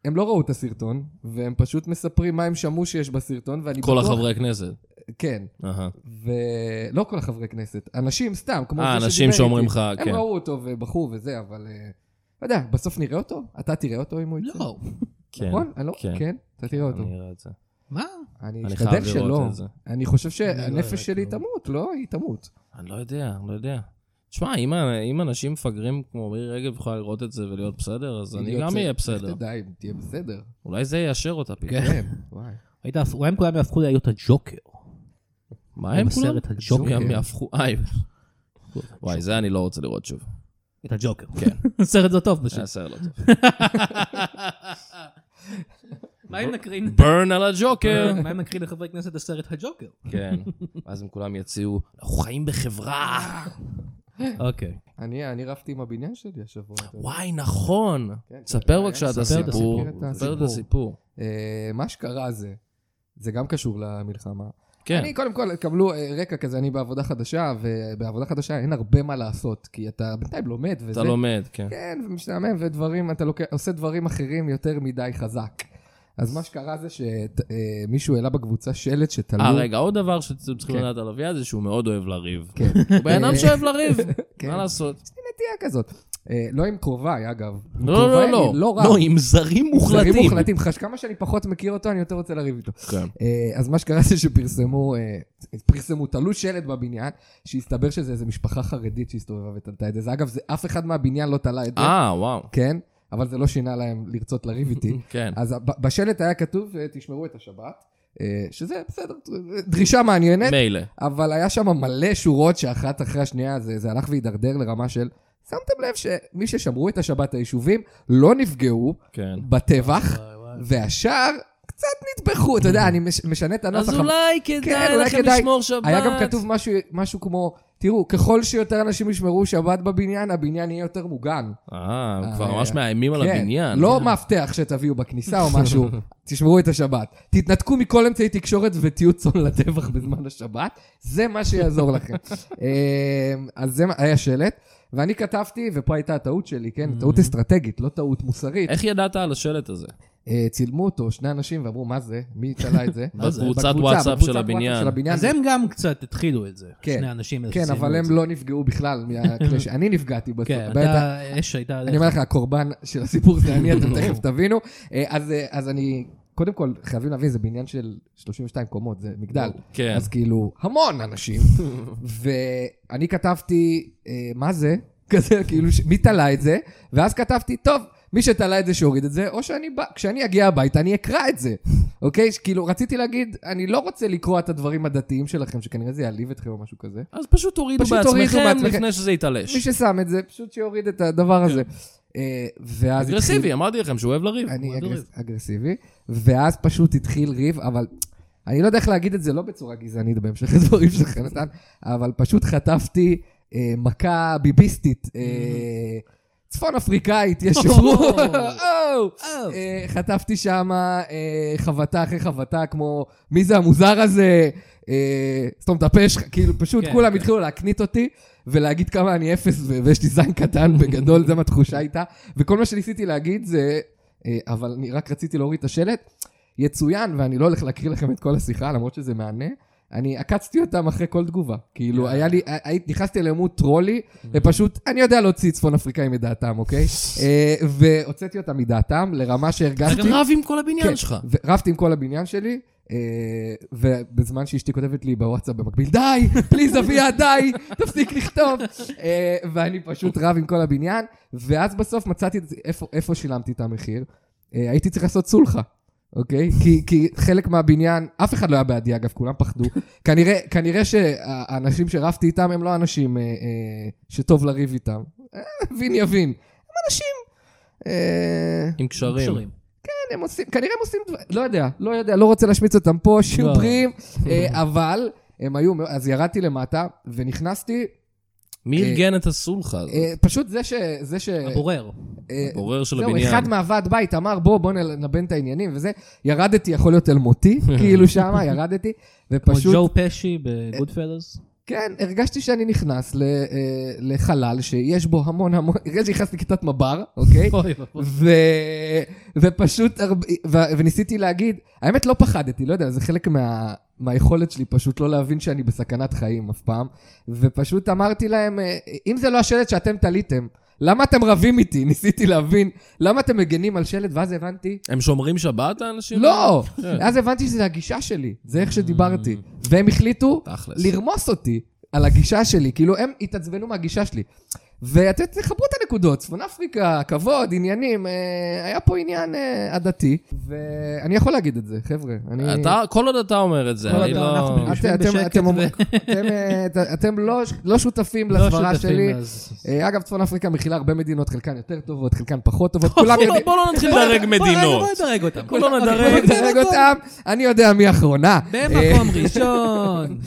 Speaker 3: הם לא ראו את הסרטון, והם פשוט מספרים מה הם שמעו שיש בסרטון, ואני
Speaker 1: כל החברי הכנסת.
Speaker 3: כן.
Speaker 1: אהה.
Speaker 3: ולא כל החברי כנסת, אנשים סתם, כמו...
Speaker 1: אה,
Speaker 3: זה
Speaker 1: אנשים
Speaker 3: שדיבר
Speaker 1: שאומרים
Speaker 3: איתי.
Speaker 1: לך, כן.
Speaker 3: הם ראו אותו ובחרו וזה, אבל... אה, לא יודע, בסוף נראה אותו? אתה תראה אותו אם הוא יצא?
Speaker 2: לא,
Speaker 1: כן.
Speaker 3: נכון? אני לא-
Speaker 1: כן.
Speaker 3: כן, אתה תראה אותו.
Speaker 1: אני אראה את זה.
Speaker 2: מה?
Speaker 3: אני
Speaker 1: אני
Speaker 3: אשתדל
Speaker 1: חייב לראות
Speaker 3: שלא.
Speaker 1: את זה.
Speaker 3: אני חושב
Speaker 2: אני לא אראה
Speaker 3: שהנפש שלי
Speaker 2: כלום.
Speaker 3: תמות, לא? היא תמות.
Speaker 1: אני לא יודע, אני לא יודע. תשמע, אם ה- אם אנשים מפגרים כמו מירי רגב יכולה לראות את זה ולהיות בסדר, אז אני
Speaker 3: להיות
Speaker 1: גם
Speaker 3: בסדר.
Speaker 1: אהיה
Speaker 3: איך
Speaker 1: בסדר.
Speaker 3: תדע אם תהיה בסדר?
Speaker 1: אולי זה יישר אותה פתאום.
Speaker 3: כן, וואי.
Speaker 2: היית, אולי הם כולם יהפכו להיות הג'וקר.
Speaker 1: מה הם כולם?
Speaker 2: בסרט הג'וקר.
Speaker 1: הם יהפכו... איי. וואי, זה אני לא רוצה לראות שוב.
Speaker 2: את הג'וקר. כן. סרט זה טוב פשוט.
Speaker 1: זה הסרט לא טוב.
Speaker 2: מה אם נקרין?
Speaker 1: ברן על הג'וקר!
Speaker 2: מה אם נקרין לחברי כנסת את הסרט הג'וקר?
Speaker 1: כן. אז הם כולם יציעו, אנחנו חיים בחברה!
Speaker 3: כן.
Speaker 2: אוקיי.
Speaker 3: אני אני רבתי עם הבניין שלי השבוע. אתה יודע.
Speaker 1: וואי, נכון!
Speaker 3: כן,
Speaker 1: תספר
Speaker 3: כן,
Speaker 1: בבקשה את
Speaker 3: ספר
Speaker 2: את
Speaker 1: הסיפור.
Speaker 3: הסיפור, את
Speaker 1: תספר את
Speaker 3: הסיפור.
Speaker 1: הסיפור.
Speaker 3: אה, מה שקרה זה, זה גם קשור למלחמה.
Speaker 1: כן.
Speaker 3: אני, קודם כל, קבלו אה, רקע כזה, אני בעבודה חדשה, ובעבודה חדשה אין הרבה מה לעשות, כי אתה בינתיים לומד וזה.
Speaker 1: אתה לומד, כן.
Speaker 3: כן, ומשתעמם, ודברים, אתה לוקח, עושה דברים אחרים יותר מדי חזק. אז מה שקרה זה שמישהו העלה בקבוצה שלט שתלו...
Speaker 1: אה, רגע, עוד דבר שאתם צריכים
Speaker 3: כן.
Speaker 1: לדעת על אביעד זה שהוא מאוד אוהב לריב.
Speaker 3: כן.
Speaker 1: הוא בן אדם שאוהב לריב,
Speaker 3: כן.
Speaker 1: מה לעשות?
Speaker 3: נטייה כזאת. אה, לא עם קרוביי, אגב. עם
Speaker 1: לא,
Speaker 3: קרוביי
Speaker 1: לא,
Speaker 3: אני
Speaker 1: לא.
Speaker 3: לא רב.
Speaker 1: לא,
Speaker 2: אוקיי.
Speaker 1: עם זרים
Speaker 3: זרים
Speaker 1: מוחלטים.
Speaker 3: מוחלטים. חש- כמה שאני פחות מכיר אותו, אני יותר רוצה לריב איתו.
Speaker 1: כן.
Speaker 3: אה, אז מה שקרה זה שפרסמו, אה, פרסמו, תלו שלט בבניין, שהסתבר שזה איזה משפחה חרדית שהסתובבה ותלתה את זה. זה. אגב, זה- אף אחד מהבניין לא תלה את זה,
Speaker 1: אה, וואו.
Speaker 3: כן? אבל זה לא שינה להם לרצות לריב איתי.
Speaker 1: כן.
Speaker 3: אז ב- בשלט היה כתוב, אה, תשמרו את השבת, אה, שזה בסדר, דרישה מעניינת,
Speaker 1: מילא.
Speaker 3: אבל היה שם מלא שורות שאחת אחרי השנייה, זה, זה הלך והידרדר לרמה של... שמתם לב שמי ששמרו את השבת היישובים לא נפגעו
Speaker 1: כן.
Speaker 3: בטבח, והשאר קצת נטבחו. אתה יודע, אני מש, משנה את הנוסח.
Speaker 1: כן. אז
Speaker 3: אבל-
Speaker 1: אולי
Speaker 3: כן,
Speaker 1: כדאי
Speaker 3: אולי
Speaker 1: לכם
Speaker 3: כדאי.
Speaker 1: לשמור שבת.
Speaker 3: היה גם כתוב משהו, משהו כמו, תראו, ככל שיותר אנשים ישמרו שבת בבניין, הבניין יהיה יותר מוגן.
Speaker 1: אה, הם
Speaker 3: אה,
Speaker 1: כבר
Speaker 3: אה,
Speaker 1: ממש מאיימים על
Speaker 3: כן,
Speaker 1: הבניין.
Speaker 3: לא מפתח שתביאו בכניסה או משהו, תשמרו את השבת. תתנתקו מכל אמצעי תקשורת ותהיו צאן לטבח בזמן השבת, זה מה שיעזור לכם. אמ, אז זה מה- היה שלט, ואני כתבתי, ופה הייתה הטעות שלי,
Speaker 1: Mm.
Speaker 3: כן? טעות אסטרטגית, לא טעות מוסרית.
Speaker 1: איך ידעת על השלט הזה?
Speaker 3: אה, צילמו אותו שני אנשים ואמרו, מה זה? מי תלה את זה?
Speaker 1: מה זה? בקבוצת
Speaker 3: בקבוצה,
Speaker 1: וואטסאפ של
Speaker 3: בקבוצת
Speaker 1: הבניין.
Speaker 3: של הבניין.
Speaker 2: אז הם גם קצת התחילו את זה.
Speaker 3: כן.
Speaker 2: שני האנשים האלה
Speaker 3: כן,
Speaker 2: שציינו
Speaker 3: אבל
Speaker 2: את
Speaker 3: הם
Speaker 2: זה.
Speaker 3: לא נפגעו בכלל מהכלי ש... אני נפגעתי בסוף.
Speaker 2: כן,
Speaker 3: באמת,
Speaker 2: אתה, אש הייתה
Speaker 3: אני
Speaker 2: עליך.
Speaker 3: אומר לך, הקורבן של הסיפור זה אני, אתם תכף תבינו. אה, אז, אה, אז אני, קודם כל, חייבים להבין, זה בניין של 32 קומות, זה מגדל.
Speaker 1: כן.
Speaker 3: אז כאילו, המון אנשים. ואני כתבתי, אה, מה זה? כזה, כאילו, ש- מי תלה את זה? ואז כתבתי, טוב, מי שתלה את זה שיוריד את זה, או שאני בא, כשאני אגיע הביתה אני אקרא את זה. אוקיי? כאילו, רציתי להגיד, אני לא רוצה לקרוא את הדברים הדתיים שלכם, שכנראה זה יעליב אתכם או משהו כזה.
Speaker 1: אז פשוט תורידו
Speaker 3: פשוט תורידו
Speaker 1: בעצמכם
Speaker 3: בעצמכם.
Speaker 1: לפני שזה
Speaker 3: מי
Speaker 1: ייתלש.
Speaker 3: ששם את זה, פשוט שיוריד את הדבר הזה. אה, ואז התחיל-
Speaker 1: כן. אגרסיבי, אמרתי לכם שהוא אוהב לריב.
Speaker 3: אני
Speaker 1: הוא אוהב
Speaker 3: אגרס-
Speaker 1: לריב.
Speaker 3: אגרסיבי, ואז פשוט התחיל ריב, אבל אני לא יודע איך להגיד את זה, לא בצורה גזענית בהמשך הדברים שלך, נתן, אבל פשוט חטפתי אה, מכה ביביסטית, אה, צפון אפריקאית, יש שיפרו,
Speaker 2: אה,
Speaker 3: חטפתי שם חבטה אחרי חבטה, כמו מי זה המוזר הזה, אה, סתום את הפה שלך, כאילו פשוט
Speaker 2: כן,
Speaker 3: כולם
Speaker 2: כן.
Speaker 3: התחילו להקנית אותי. ולהגיד כמה אני אפס ו- ויש לי זין קטן וגדול, זה מה התחושה הייתה. וכל מה שניסיתי להגיד זה, אה, אבל אני רק רציתי להוריד את השלט, יצוין, ואני לא הולך להקריא לכם את כל השיחה, למרות שזה מענה, אני עקצתי אותם אחרי כל תגובה. כאילו, היה לי, הי- הי- נכנסתי לעימות טרולי, ופשוט, אני יודע להוציא צפון אפריקאים מדעתם, אוקיי? אה, והוצאתי אותם מדעתם, לרמה
Speaker 1: אתה
Speaker 3: שהרגשתי...
Speaker 1: גם רב עם כל הבניין
Speaker 3: כן,
Speaker 1: שלך.
Speaker 3: ורבתי עם כל הבניין שלי. אה, ובזמן שאשתי כותבת לי בוואטסאפ במקביל, די, פליז אביה, די, תפסיק לכתוב. אה, ואני פשוט רב עם כל הבניין, ואז בסוף מצאתי את זה- איפה- איפה שילמתי את המחיר. אה, הייתי צריך לעשות סולחה, אוקיי? כי- כי חלק מהבניין, אף אחד לא היה בעדי אגב, כולם פחדו. כנראה- כנראה שהאנשים שרבתי איתם הם לא אנשים אה, אה, שטוב לריב איתם. אה, מבין יבין. הם אנשים... אה,
Speaker 1: עם קשרים.
Speaker 2: קשרים.
Speaker 3: הם עושים, כנראה הם עושים דבר, לא יודע, לא יודע, לא רוצה להשמיץ אותם פה, שיהיו
Speaker 2: לא.
Speaker 3: בריאים, אה, אבל הם היו, מאוד- אז ירדתי למטה ונכנסתי,
Speaker 1: מי
Speaker 3: אה,
Speaker 1: ארגן את הסולחה הזאת?
Speaker 3: אה, פשוט זה ש... זה ש...
Speaker 2: הבורר.
Speaker 3: אה,
Speaker 1: הבורר של
Speaker 3: זהו,
Speaker 1: הבניין.
Speaker 3: אחד מהוועד בית אמר, בוא, בוא נלבן את העניינים וזה. ירדתי, יכול להיות אל מותי, כאילו שמה, ירדתי,
Speaker 2: כמו
Speaker 3: ופשוט,
Speaker 2: ג'ו פשי בגוד פלס.
Speaker 3: כן, הרגשתי שאני נכנס ל- אה, לחלל שיש בו המון המון, הרגשתי שנכנסתי לכיתת מב"ר, אוקיי? ו... ופשוט, הרב... ו... וניסיתי להגיד, האמת לא פחדתי, לא יודע, זה חלק מה... מהיכולת שלי פשוט לא להבין שאני בסכנת חיים אף פעם, ופשוט אמרתי להם, "אה, אם זה לא השלט שאתם תליתם, למה אתם רבים איתי? ניסיתי להבין, למה אתם מגנים על שלט, ואז הבנתי,
Speaker 1: הם שומרים שבת, האנשים?
Speaker 3: לא!
Speaker 1: כן.
Speaker 3: אז הבנתי שזה הגישה שלי, זה איך שדיברתי, והם החליטו
Speaker 1: תכלס.
Speaker 3: לרמוס אותי. על הגישה שלי, כאילו הם התעצבנו מהגישה שלי. ואתם תחברו את הנקודות, צפון אפריקה, כבוד, עניינים, אה, היה פה עניין אה, עדתי, ואני יכול להגיד את זה, חבר'ה. אני...
Speaker 1: אתה, כל עוד אתה אומר את זה,
Speaker 2: כל
Speaker 1: אני
Speaker 2: עוד
Speaker 1: לא...
Speaker 2: אנחנו-
Speaker 3: אתם,
Speaker 2: יושבים
Speaker 3: אתם,
Speaker 2: בשקט
Speaker 3: אתם,
Speaker 2: ו-
Speaker 3: אומרים- אתם, אה, ת- אתם לא, לא שותפים
Speaker 2: לא
Speaker 3: לסברה
Speaker 2: שותפים,
Speaker 3: שלי.
Speaker 2: אז-
Speaker 3: אה, אגב, צפון אפריקה מכילה הרבה מדינות, חלקן יותר טובות, חלקן פחות טובות, כולם
Speaker 1: בוא-
Speaker 3: יודעים.
Speaker 1: בוא לא נתחיל לדרג מדינות.
Speaker 2: בוא נדרג אותם.
Speaker 1: בוא לא
Speaker 3: בוא
Speaker 1: נדרג.
Speaker 3: נדרג אותם, אני יודע מי האחרונה.
Speaker 2: במקום ראשון.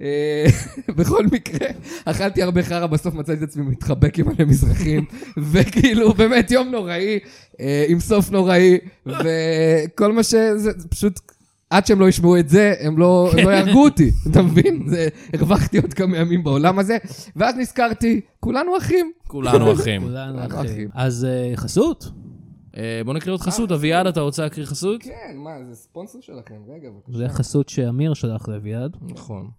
Speaker 3: אה, בכל מקרה, אכלתי הרבה חרא, בסוף מצאתי את עצמי מתחבק עם מלא מזרחים, וכאילו, באמת יום נוראי, אה, עם סוף נוראי, וכל מה ש... זה זה פשוט... עד שהם לא ישמעו את זה, הם לא, הם לא יהרגו אותי, אתה מבין? זה, הרווחתי עוד כמה ימים בעולם הזה, ואז נזכרתי, כולנו אחים.
Speaker 1: כולנו אחים.
Speaker 2: כולנו
Speaker 3: אנחנו
Speaker 2: אחים.
Speaker 3: אחים.
Speaker 2: אז אה, חסות?
Speaker 1: אה, בוא נקריא עוד חסות. אביעד, אתה רוצה להקריא חסות?
Speaker 3: כן, מה, זה ספונסר שלכם, רגע, בבקשה.
Speaker 2: זה חסות שאמיר שלח לאביעד.
Speaker 1: נכון.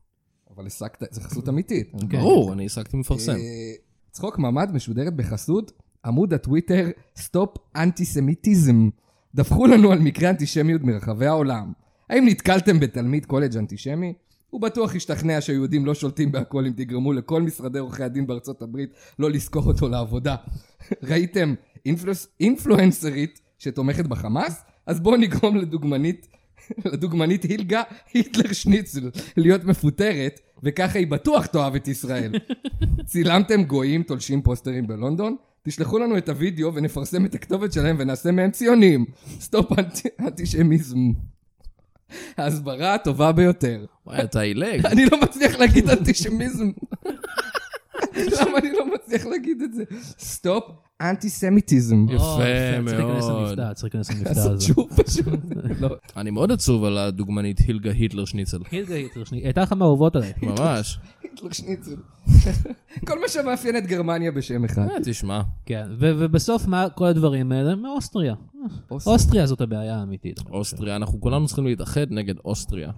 Speaker 3: אבל הסקת, זה חסות אמיתית.
Speaker 1: ברור, אני הסקתי מפרסם.
Speaker 3: אה, צחוק ממ"ד משודרת בחסות עמוד הטוויטר סטופ אנטיסמיטיזם. דווחו לנו על מקרי אנטישמיות מרחבי העולם. האם נתקלתם בתלמיד קולג' אנטישמי? הוא בטוח השתכנע שהיהודים לא שולטים בהכל אם תגרמו לכל משרדי עורכי הדין בארצות הברית לא לשכור אותו לעבודה. ראיתם אינפלוס, אינפלואנסרית שתומכת בחמאס? אז בואו נגרום לדוגמנית, לדוגמנית הילגה היטלר שניצל להיות מפוטרת, וככה היא בטוח תאהב את ישראל. צילמתם גויים תולשים פוסטרים בלונדון? תשלחו לנו את הוידאו ונפרסם את הכתובת שלהם ונעשה מהם ציונים. סטופ אנטי- אנטישמיזם. ההסברה הטובה ביותר.
Speaker 1: וואי, אתה עילג.
Speaker 3: אני לא מצליח להגיד אנטישמיזם. למה אני לא מצליח להגיד את זה? סטופ אנטיסמיטיזם.
Speaker 1: יפה
Speaker 2: או, צריך להיכנס
Speaker 1: מאוד.
Speaker 2: למבטא, צריך להיכנס למבטא
Speaker 3: לעשות
Speaker 2: הזה.
Speaker 3: שוב פשוט. לא.
Speaker 1: אני מאוד עצוב על הדוגמנית הילגה היטלר שניצל.
Speaker 2: הילדה היטלר שני, הייתה לך מהאהובות עליי.
Speaker 1: ממש.
Speaker 3: היטלר לא, שניצל. כל מה שמאפיין את גרמניה בשם אחד.
Speaker 1: אה, תשמע.
Speaker 2: כן, ו- ובסוף מה כל הדברים האלה? מאוסטריה.
Speaker 3: אוסטריה.
Speaker 2: אוסטריה זאת הבעיה האמיתית.
Speaker 1: אוסטריה, אנחנו כולנו צריכים להתאחד נגד אוסטריה.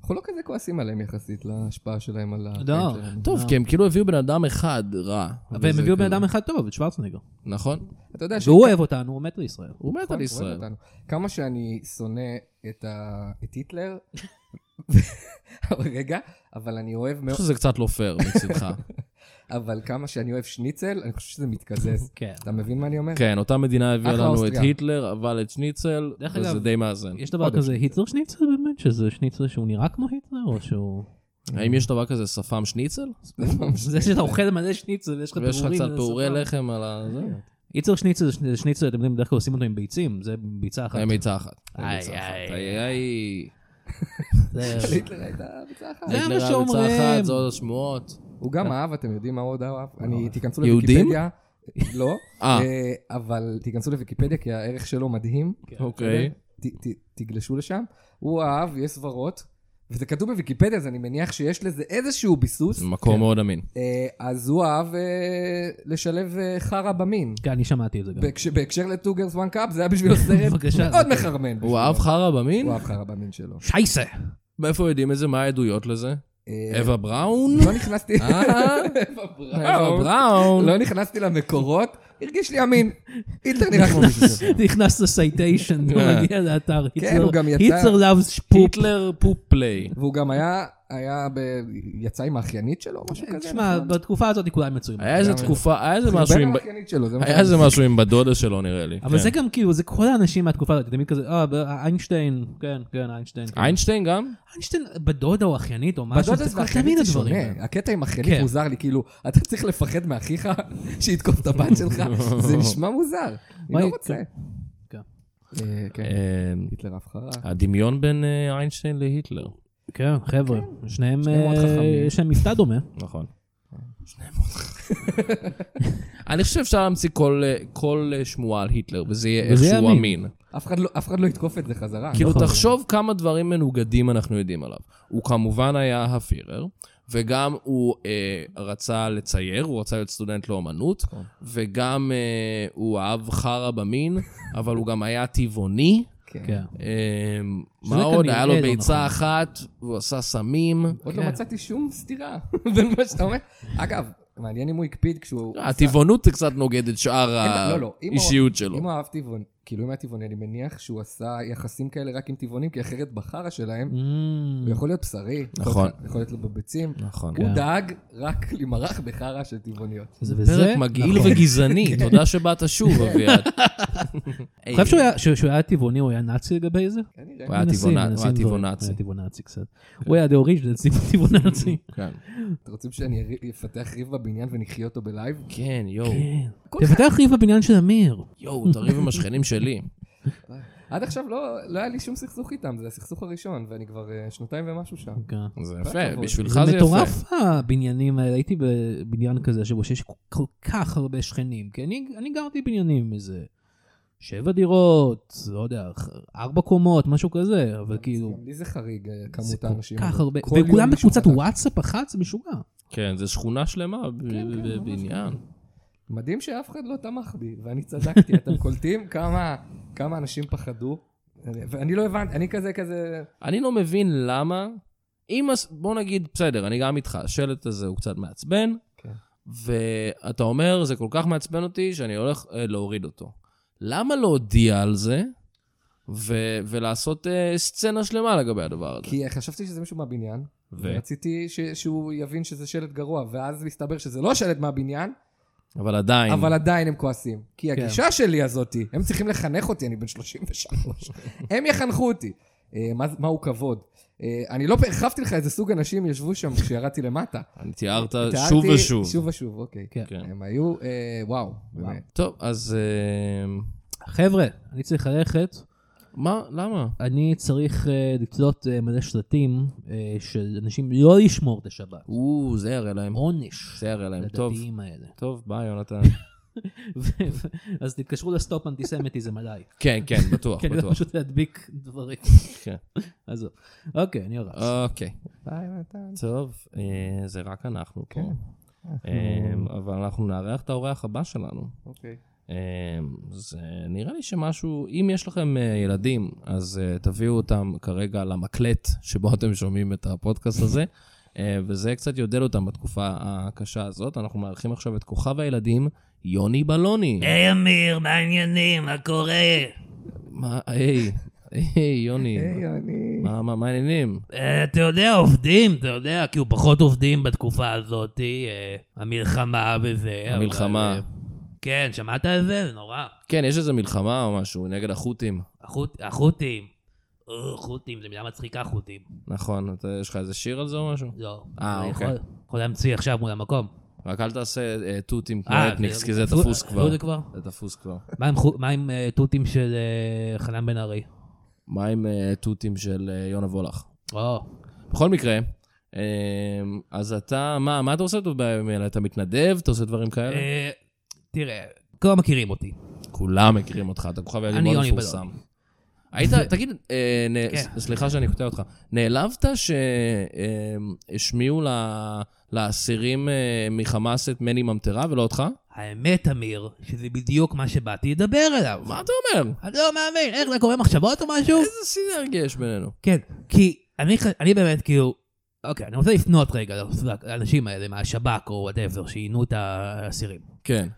Speaker 3: אנחנו לא כזה כועסים עליהם יחסית להשפעה שלהם על ה...
Speaker 2: לא.
Speaker 1: טוב, כי הם כאילו הביאו בן אדם אחד רע.
Speaker 2: והם
Speaker 1: וזה
Speaker 2: הביאו בן
Speaker 1: כאילו-
Speaker 2: אדם אחד טוב, את שוורצנגר.
Speaker 1: נכון.
Speaker 3: אתה יודע ש...
Speaker 2: והוא אוהב אותנו, הוא מת לישראל.
Speaker 1: הוא מת
Speaker 3: נכון,
Speaker 1: על ישראל.
Speaker 3: אוהב אותנו. כמה שאני שונא את ה- את היטלר, רגע, אבל אני אוהב
Speaker 1: אני
Speaker 3: מאוד,
Speaker 1: חושב שזה קצת לא פייר מצדך.
Speaker 3: אבל כמה שאני אוהב שניצל, אני חושב שזה מתקזז.
Speaker 2: כן.
Speaker 3: אתה מבין מה אני אומר?
Speaker 1: כן, אותה מדינה הביאה
Speaker 3: אחלה
Speaker 1: לנו את
Speaker 3: אוסטריה.
Speaker 1: היטלר, אבל את שניצל,
Speaker 2: דרך
Speaker 1: וזה
Speaker 2: אגב,
Speaker 1: די מאזן.
Speaker 2: יש דבר
Speaker 3: עוד
Speaker 2: כזה היטלר שניצל באמת? שזה שניצל שהוא נראה כמו היטלר, או שהוא...
Speaker 1: האם יש דבר כזה שפם שניצל?
Speaker 2: זה שאתה אוכל מלא שניצל ויש לך פעורים. כן,
Speaker 1: ויש לך קצת
Speaker 2: על
Speaker 1: פעורי
Speaker 2: השפה.
Speaker 1: לחם על ה... זה?
Speaker 2: היטלר שניצל זה שני- זה שניצל, אתם יודעים, בדרך כלל עושים אותו עם ביצים, זה ביצה אחת.
Speaker 1: אה, מיצה אחת. אה,
Speaker 2: איי,
Speaker 1: מיצה
Speaker 2: איי,
Speaker 1: אחת.
Speaker 2: איי.
Speaker 1: איי, איי.
Speaker 2: זה-
Speaker 3: היטלר הייתה ביצה אחת.
Speaker 2: זה מה
Speaker 1: היטלר היה
Speaker 2: שאומרים. כן.
Speaker 1: ביצה אחת, זה עוד שמועות.
Speaker 3: הוא גם אהב, אתם יודעים מה עוד אהב? אני, תיכנסו
Speaker 1: אה. יהודים?
Speaker 3: לוויקיפדיה. לא,
Speaker 1: אה.
Speaker 3: אה, אבל תיכנסו לוויקיפדיה כי הערך שלו מדהים.
Speaker 1: אוקיי.
Speaker 3: בסדר? ת- ת- תגלשו לשם. הוא אהב, יש סברות. וזה כתוב בוויקיפדיה, אז אני מניח שיש לזה איזשהו ביסוס.
Speaker 2: כן.
Speaker 1: זה מקור מאוד אמין.
Speaker 3: אה, אז הוא אהב אה, לשלב אה, חרא במין.
Speaker 2: כן, אני שמעתי את זה גם.
Speaker 3: בהקש- בהקשר לטוגרס וואן קאפ, זה היה בשבילו סרט
Speaker 2: בבקשה.
Speaker 3: מאוד מחרמן. בשבילו.
Speaker 1: כן. הוא אהב חרא במין?
Speaker 3: הוא אהב חרא במין שלו.
Speaker 2: שייסה.
Speaker 1: מאיפה יודעים את זה? מה העדויות לזה?
Speaker 2: כן.
Speaker 3: אה,
Speaker 1: אווה בראון?
Speaker 3: לא נכנסתי...
Speaker 1: אה,
Speaker 3: אווה
Speaker 1: אווה
Speaker 3: בראון.
Speaker 1: בראון.
Speaker 3: לא נכנסתי למקורות, הרגיש לי אמין. היטלר נראה
Speaker 1: נכון,
Speaker 3: כמו מישהו כזה.
Speaker 2: נכנס לסייטיישן, הוא
Speaker 1: כן.
Speaker 2: מגיע לאתר היטלר.
Speaker 3: כן, הוא גם יצא-
Speaker 2: היטלר לאבס פופ.
Speaker 1: היטלר פופ פליי.
Speaker 3: והוא גם היה, היה ב- יצא עם האחיינית שלו, או
Speaker 1: אה,
Speaker 3: משהו כזה. נכון.
Speaker 2: תשמע, כן, בתקופה הזאת כולם מצויים.
Speaker 1: היה איזה תקופה, היה איזה משהו
Speaker 3: בין
Speaker 1: עם...
Speaker 3: האחיינית שלו, זה מה
Speaker 1: היה איזה משהו עם בדודה שלו, נראה לי.
Speaker 2: אבל
Speaker 1: כן.
Speaker 2: זה גם כאילו, זה כל האנשים מהתקופה הזאת, תמיד כזה, אה, ב- איינשטיין, כן, כן, איינשטיין. כן."
Speaker 1: איינשטיין גם?
Speaker 2: איינשטיין בדודה או אחיינית או משהו,
Speaker 3: בדודה
Speaker 2: זה
Speaker 3: זה
Speaker 2: כבר תמיד
Speaker 3: אחיינית זה
Speaker 2: הדברים. האלה.
Speaker 3: שונה. הקטע עם
Speaker 2: כן.
Speaker 3: אחיינית מוזר לי, כאילו, אתה צריך לפחד מאחיך שיתקוף את הבת שלך? זה נשמע מוזר. אני
Speaker 2: וואי,
Speaker 3: לא רוצה.
Speaker 2: כן.
Speaker 3: אה, כן.
Speaker 1: אה,
Speaker 3: היטלר אף חרא.
Speaker 1: הדמיון בין אה, איינשטיין להיטלר.
Speaker 2: כן, חבר'ה, שניהם,
Speaker 3: שניהם מאוד
Speaker 2: אה,
Speaker 3: חכמים.
Speaker 2: יש להם מבטא דומה.
Speaker 1: נכון. אני חושב שאפשר להמציא כל, אה, כל אה, שמועה על היטלר, וזה יהיה
Speaker 2: וזה יהיה
Speaker 1: איכשהו
Speaker 2: אמין.
Speaker 1: אמין.
Speaker 3: אף אחד לא- אף אחד לא יתקוף את זה חזרה.
Speaker 1: כאילו,
Speaker 2: נכון.
Speaker 1: תחשוב כמה דברים מנוגדים אנחנו יודעים עליו. הוא כמובן היה הפירר, וגם הוא אה, רצה לצייר, הוא רצה להיות סטודנט לאומנות, וגם אה, הוא אהב חרא במין, אבל הוא גם היה טבעוני.
Speaker 2: כן.
Speaker 1: אה,
Speaker 2: שזה
Speaker 1: מה עוד?
Speaker 2: כנראה
Speaker 1: היה לו
Speaker 2: לא נכון.
Speaker 1: ביצה אחת, והוא עשה סמים. אה,
Speaker 3: עוד
Speaker 2: כן.
Speaker 3: לא מצאתי שום סתירה בין מה שאתה אומר. אגב,
Speaker 2: אה,
Speaker 3: מעניין אם הוא הקפיד כשהוא...
Speaker 1: הטבעונות זה קצת נוגד את שאר
Speaker 3: אין- לא, לא, אם הוא-
Speaker 1: האישיות שלו.
Speaker 3: אם הוא אהב טבעון. כאילו אם היה טבעוני, אני מניח שהוא עשה יחסים כאלה רק עם טבעונים, כי אחרת בחרא שלהם,
Speaker 2: Mm.
Speaker 3: הוא יכול להיות בשרי, יכול
Speaker 1: נכון.
Speaker 3: להיות- יכול להיות לו בביצים.
Speaker 1: נכון.
Speaker 2: כן.
Speaker 3: הוא דאג רק למרח בחרא של טבעוניות.
Speaker 2: זה
Speaker 1: פרק מגעיל
Speaker 2: נכון.
Speaker 1: וגזעני, תודה שבאת שוב, אביעד.
Speaker 2: אתה חושב שהוא היה- שהוא- שהוא היה טבעוני, הוא היה נאצי לגבי זה?
Speaker 3: כנראה.
Speaker 1: הוא היה
Speaker 2: מנסים,
Speaker 1: טבעונה- הוא
Speaker 2: מנסים
Speaker 1: היה
Speaker 2: דברים.
Speaker 1: טבעונאצי.
Speaker 2: היה טבעונאצי קצת. הוא היה דאוריג'נס, טבעונאצי.
Speaker 1: כן.
Speaker 3: אתם רוצים שאני ארי- אפתח ריב בבניין ונחיה אותו בלייב?
Speaker 1: כן, יואו.
Speaker 2: כן.
Speaker 3: כל
Speaker 2: תפתח ריב בבניין של אמיר.
Speaker 1: יואו, תריב עם השכנים שלי.
Speaker 3: עד עכשיו לא לא היה לי שום סכסוך איתם, זה הסכסוך הראשון, ואני כבר אה, שנתיים ומשהו שם.
Speaker 1: זה
Speaker 3: כל
Speaker 1: יפה,
Speaker 3: הכבוד.
Speaker 1: בשבילך
Speaker 2: זה
Speaker 1: זה יפה.
Speaker 2: מטורף הבניינים האלה, הייתי בבניין כזה שבו שיש כל- כל כך הרבה שכנים, כי אני, אני גרתי בבניינים איזה שבע דירות, לא יודע, ארבע קומות, משהו כזה, אבל כאילו,
Speaker 3: גם לי זה חריג, אה,
Speaker 2: זה
Speaker 3: כן, כמות
Speaker 2: כל
Speaker 3: האנשים.
Speaker 2: כך
Speaker 3: אבל
Speaker 2: הרבה,
Speaker 3: כל יום
Speaker 2: וכולם
Speaker 3: מישהו
Speaker 2: בקבוצת
Speaker 3: חדש.
Speaker 2: וואטסאפ אחת, זה משוגע.
Speaker 1: כן, זה שכונה שלמה ב-
Speaker 3: כן,
Speaker 1: ב-
Speaker 3: ממש.
Speaker 1: בבניין.
Speaker 3: מדהים שאף אחד לא תמך בי, ואני צדקתי, אתם קולטים כמה, כמה אנשים פחדו? אני- ואני לא הבנתי, אני כזה כזה...
Speaker 1: אני לא מבין למה, אם, הס- בוא נגיד, בסדר, אני גם איתך, השלט הזה הוא קצת מעצבן,
Speaker 3: כן.
Speaker 1: ואתה אומר, זה כל כך מעצבן אותי, שאני הולך אה, להוריד אותו. למה להודיע על זה, ו- ולעשות אה, סצנה שלמה לגבי הדבר הזה?
Speaker 3: כי חשבתי שזה מישהו מהבניין,
Speaker 1: ו-
Speaker 3: ורציתי ש- שהוא יבין שזה שלט גרוע, ואז מסתבר שזה לא שלט מהבניין,
Speaker 1: אבל עדיין,
Speaker 3: אבל עדיין הם כועסים. כי הגישה שלי הזאתי, הם צריכים לחנך אותי, אני בן 33. הם יחנכו אותי. אה, מה זה- מהו כבוד? אה, אני לא הרחבתי לך איזה סוג אנשים ישבו שם כשירדתי למטה.
Speaker 1: אני תיארת אה, שוב
Speaker 3: תיארתי-
Speaker 1: ושוב.
Speaker 3: שוב ושוב, אוקיי.
Speaker 2: כן.
Speaker 1: כן.
Speaker 3: הם היו, אה, וואו, באמת.
Speaker 1: טוב, אז אה,
Speaker 2: חבר'ה, אני צריך ללכת,
Speaker 1: מה, למה?
Speaker 2: אני צריך אה, לתלות אה, מלא שלטים אה, של אנשים לא לשמור את השבת.
Speaker 1: או, זה יראה להם.
Speaker 2: עונש
Speaker 1: זה יראה להם. אה, טוב,
Speaker 2: לדתיים האלה.
Speaker 1: טוב, ביי, יונתן.
Speaker 2: ו- ו- אז תתקשרו לסטופ אנטיסמיטיזם עליי.
Speaker 1: כן, כן, בטוח,
Speaker 2: כי אני לא
Speaker 1: בטוח.
Speaker 2: פשוט להדביק דברים.
Speaker 1: כן.
Speaker 2: עזוב. אוקיי, אני רץ.
Speaker 1: אוקיי.
Speaker 3: ביי, מתן.
Speaker 1: טוב, אה, זה רק אנחנו פה.
Speaker 3: כן.
Speaker 1: אמ, אבל אנחנו נארח את האורח הבא שלנו.
Speaker 3: אוקיי.
Speaker 1: אמ, זה נראה לי שמשהו, אם יש לכם אה, ילדים, אז אה, תביאו אותם כרגע למקלט שבו אתם שומעים את הפודקאסט הזה, אה, וזה קצת יודל אותם בתקופה הקשה הזאת. אנחנו מארחים עכשיו את כוכב הילדים, יוני בלוני.
Speaker 2: היי אמיר, מה העניינים? מה קורה?
Speaker 1: מה, היי, היי, יוני,
Speaker 3: היי, אני...
Speaker 1: מה מה- מה העניינים?
Speaker 2: אה, אתה יודע, עובדים, אתה יודע, כאילו פחות עובדים בתקופה הזאת, אה, המלחמה וזה. אבל,
Speaker 1: המלחמה.
Speaker 2: אה, כן, שמעת על זה? זה נורא.
Speaker 1: כן, יש איזו מלחמה או משהו נגד החות'ים.
Speaker 2: החות- החות'ים. אה, חות'ים, זו מילה מצחיקה, חות'ים.
Speaker 1: נכון, אתה- יש לך איזה שיר על זה או משהו?
Speaker 2: לא.
Speaker 1: אה,
Speaker 2: אני
Speaker 1: אוקיי.
Speaker 2: יכול- יכול להמציא עכשיו מול המקום.
Speaker 1: רק אל תעשה אה, תותים כמו
Speaker 2: אה,
Speaker 1: אתניקס,
Speaker 2: זה-
Speaker 1: כי זה
Speaker 2: עשו-
Speaker 1: תפוס
Speaker 2: עשו
Speaker 1: כבר.
Speaker 2: את זה כבר?
Speaker 1: זה תפוס כבר.
Speaker 2: מה עם חו- מה עם אה, תותים של אה, חנן בן ארי?
Speaker 1: מה עם אה, תותים של אה, יונה וולך?
Speaker 2: או,
Speaker 1: בכל מקרה, אה, אז אתה, מה מה אתה עושה בימים האלה? אתה מתנדב? אתה עושה דברים כאלה?
Speaker 2: אה, תראה, כולם מכירים אותי.
Speaker 1: כולם מכירים אותך, אתה כוכב ילדים
Speaker 2: אני
Speaker 1: מאוד
Speaker 2: יוני
Speaker 1: מפורסם. היית, תגיד, אה, נ-
Speaker 2: כן.
Speaker 1: ס- סליחה שאני קוטע אותך, נעלבת שהשמיעו לאסירים אה, מחמאס את מני ממטרה ולא אותך?
Speaker 2: האמת, אמיר, שזה בדיוק מה שבאתי לדבר עליו.
Speaker 1: מה אתה אומר?
Speaker 2: אני לא מאמין, איך זה קורה מחשבות או משהו?
Speaker 1: איזה סינרגיה יש בינינו.
Speaker 2: כן, כי אני, ח- אני באמת כאילו, אוקיי, אני רוצה לפנות רגע לאנשים האלה מהשב"כ או וואטאבר, שעינו את האסירים.
Speaker 1: כן.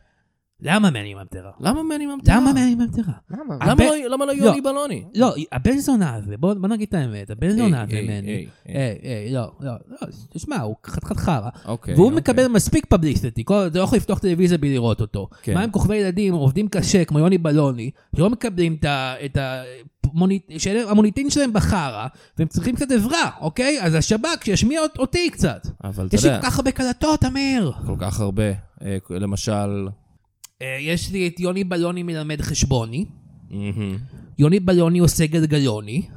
Speaker 2: למה מני ממטרה?
Speaker 1: למה מני ממטרה?
Speaker 2: למה מני ממטרה?
Speaker 3: למה?
Speaker 1: למה
Speaker 2: הבן-
Speaker 1: לא- למה לא יוני בלוני?
Speaker 2: לא, הבן זונה הזה, בוא בוא נגיד את האמת, הבן זונה הזה
Speaker 1: היי,
Speaker 2: לא מני.
Speaker 1: היי, היי.
Speaker 2: היי, היי, לא, לא, לא, תשמע, הוא חתיכת חרא.
Speaker 1: אוקיי.
Speaker 2: אה, והוא
Speaker 1: אוקיי.
Speaker 2: מקבל מספיק פבליסטי, כל- אתה לא יכול לפתוח טלוויזיה בלי לראות אותו.
Speaker 1: כן.
Speaker 2: מה עם כוכבי ילדים עובדים קשה, כמו יוני בלוני, שלא מקבלים את ה- את ה... מונית- שאלה- המוניטין שלהם בחרא, והם צריכים קצת עזרה, אוקיי? אז השב"כ שישמיע אות- אותי קצת.
Speaker 1: אבל אתה
Speaker 2: יש לי כל
Speaker 1: יודע,
Speaker 2: כך הרבה קלטות, אמיר.
Speaker 1: כל כך הרבה. אה, למשל...
Speaker 2: אה, יש לי את יוני בלוני מלמד חשבוני,
Speaker 1: מהמם.
Speaker 2: יוני בלוני עושה גלגלוני,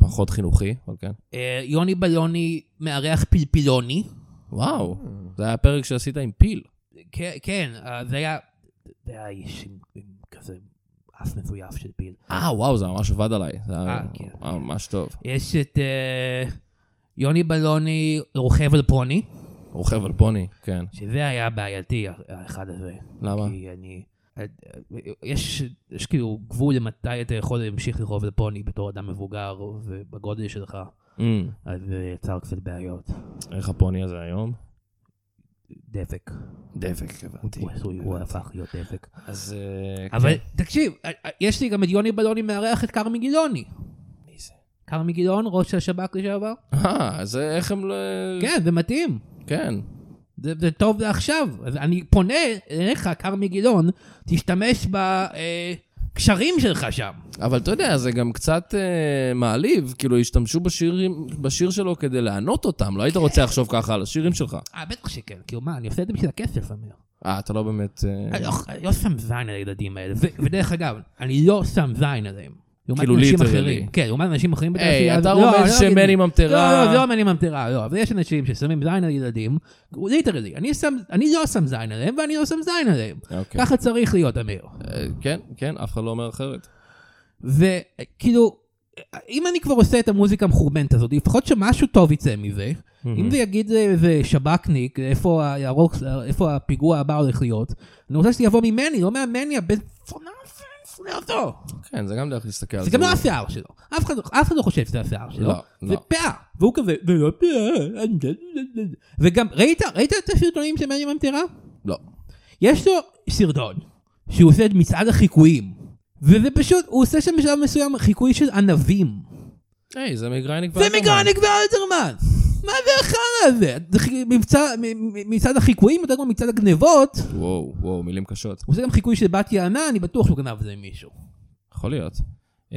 Speaker 1: פחות חינוכי, אבל כן.
Speaker 2: אה, יוני בלוני מארח פלפילוני.
Speaker 1: וואו, זה היה הפרק שעשית עם פיל.
Speaker 2: כן, כן, אה, זה היה... זה היה איש עם עם כזה אף מזויף של פיל.
Speaker 1: אה, וואו, זה ממש עבד עליי. זה היה
Speaker 2: אה, כן.
Speaker 1: אה, ממש טוב.
Speaker 2: יש את אה, יוני בלוני רוכב על פוני,
Speaker 1: רוכב על פוני, כן.
Speaker 2: שזה היה בעייתי, האחד הזה.
Speaker 1: למה?
Speaker 2: כי אני... אה, יש, יש כאילו גבול למתי אתה יכול להמשיך לרחוב על פוני בתור אדם מבוגר ובגודל שלך,
Speaker 1: אמ,
Speaker 2: אז זה יצר קצת בעיות.
Speaker 1: איך הפוני הזה היום?
Speaker 2: דבק.
Speaker 1: דבק, הבנתי.
Speaker 2: הוא- הוא- הוא הפך להיות דבק.
Speaker 1: אז... אה, כן.
Speaker 2: אבל תקשיב, אה, יש לי גם את יוני בלוני מארח את כרמי גילוני.
Speaker 1: מי זה?
Speaker 2: כרמי גילון, ראש השב"כ לשעבר.
Speaker 1: אה, זה איך הם... ל-
Speaker 2: כן, זה מתאים.
Speaker 1: כן.
Speaker 2: זה, זה טוב לעכשיו. אז אני פונה אליך, כרמי גילון, תשתמש בקשרים שלך שם.
Speaker 1: אבל אתה יודע, זה גם קצת אה, מעליב, כאילו, השתמשו בשירים, בשיר שלו כדי לענות אותם, לא היית רוצה לחשוב ככה על השירים שלך.
Speaker 2: אה, בטח שכן. כאילו, מה, אני עושה את זה בשביל הכסף, אמיר.
Speaker 1: אה, אתה לא באמת... אה,
Speaker 2: אני לא, אני לא שם זין על הילדים האלה. ו- ודרך אגב, אני לא שם זין עליהם. לעומת
Speaker 1: כאילו,
Speaker 2: אנשים
Speaker 1: literally.
Speaker 2: אחרים. כן, לעומת אנשים אחרים
Speaker 1: היי,
Speaker 2: אז-
Speaker 1: אתה
Speaker 2: לא, אני לא
Speaker 1: רומז
Speaker 2: אגיד-
Speaker 1: שמני
Speaker 2: לא,
Speaker 1: ממטרה...
Speaker 2: לא, זה לא מני ממטרה, לא. אבל יש אנשים ששמים זין על ילדים, ליטרלי. אני שם- אני לא שם זין עליהם, ואני לא שם זין עליהם.
Speaker 1: אוקיי.
Speaker 2: ככה צריך להיות, אמיר.
Speaker 1: אה, כן, כן, אף אחד לא אומר אחרת.
Speaker 2: וכאילו, אם אני כבר עושה את המוזיקה המחורבנת הזאת, לפחות שמשהו טוב יצא מזה.
Speaker 1: Mm-hmm.
Speaker 2: אם זה יגיד איזה שב"כניק, איפה, הירוק, איפה הפיגוע הבא הולך להיות, אני רוצה שזה יבוא ממני, לא מהמני הבן פונה שונא אותו.
Speaker 1: כן, זה גם דרך להסתכל על
Speaker 2: זה
Speaker 1: זה.
Speaker 2: גם לא השיער שלו, אף אחד, אף אחד לא חושב שזה השיער שלו.
Speaker 1: לא,
Speaker 2: זה
Speaker 1: לא.
Speaker 2: פאה, והוא כזה, זה לא פאה, אני- וגם, ראית, ראית את הסרטונים של מני ממטרה?
Speaker 1: לא.
Speaker 2: יש לו סרטון שהוא עושה את מצעד החיקויים, וזה פשוט, הוא עושה שם בשלב מסוים חיקוי של ענבים.
Speaker 1: היי, זה מגרייניק
Speaker 2: זה
Speaker 1: ואלתרמן.
Speaker 2: מגרניק ואלתרמן! מה זה החרא הזה? זה חי- מבצע- מ- מ- מצד החיקויים, אתה גם מצד הגנבות, הוא
Speaker 1: וואו, וואו, מילים קשות.
Speaker 2: עושה גם חיקוי של בת יענה, אני בטוח שהוא גנב את זה ממישהו.
Speaker 1: יכול להיות. אמ,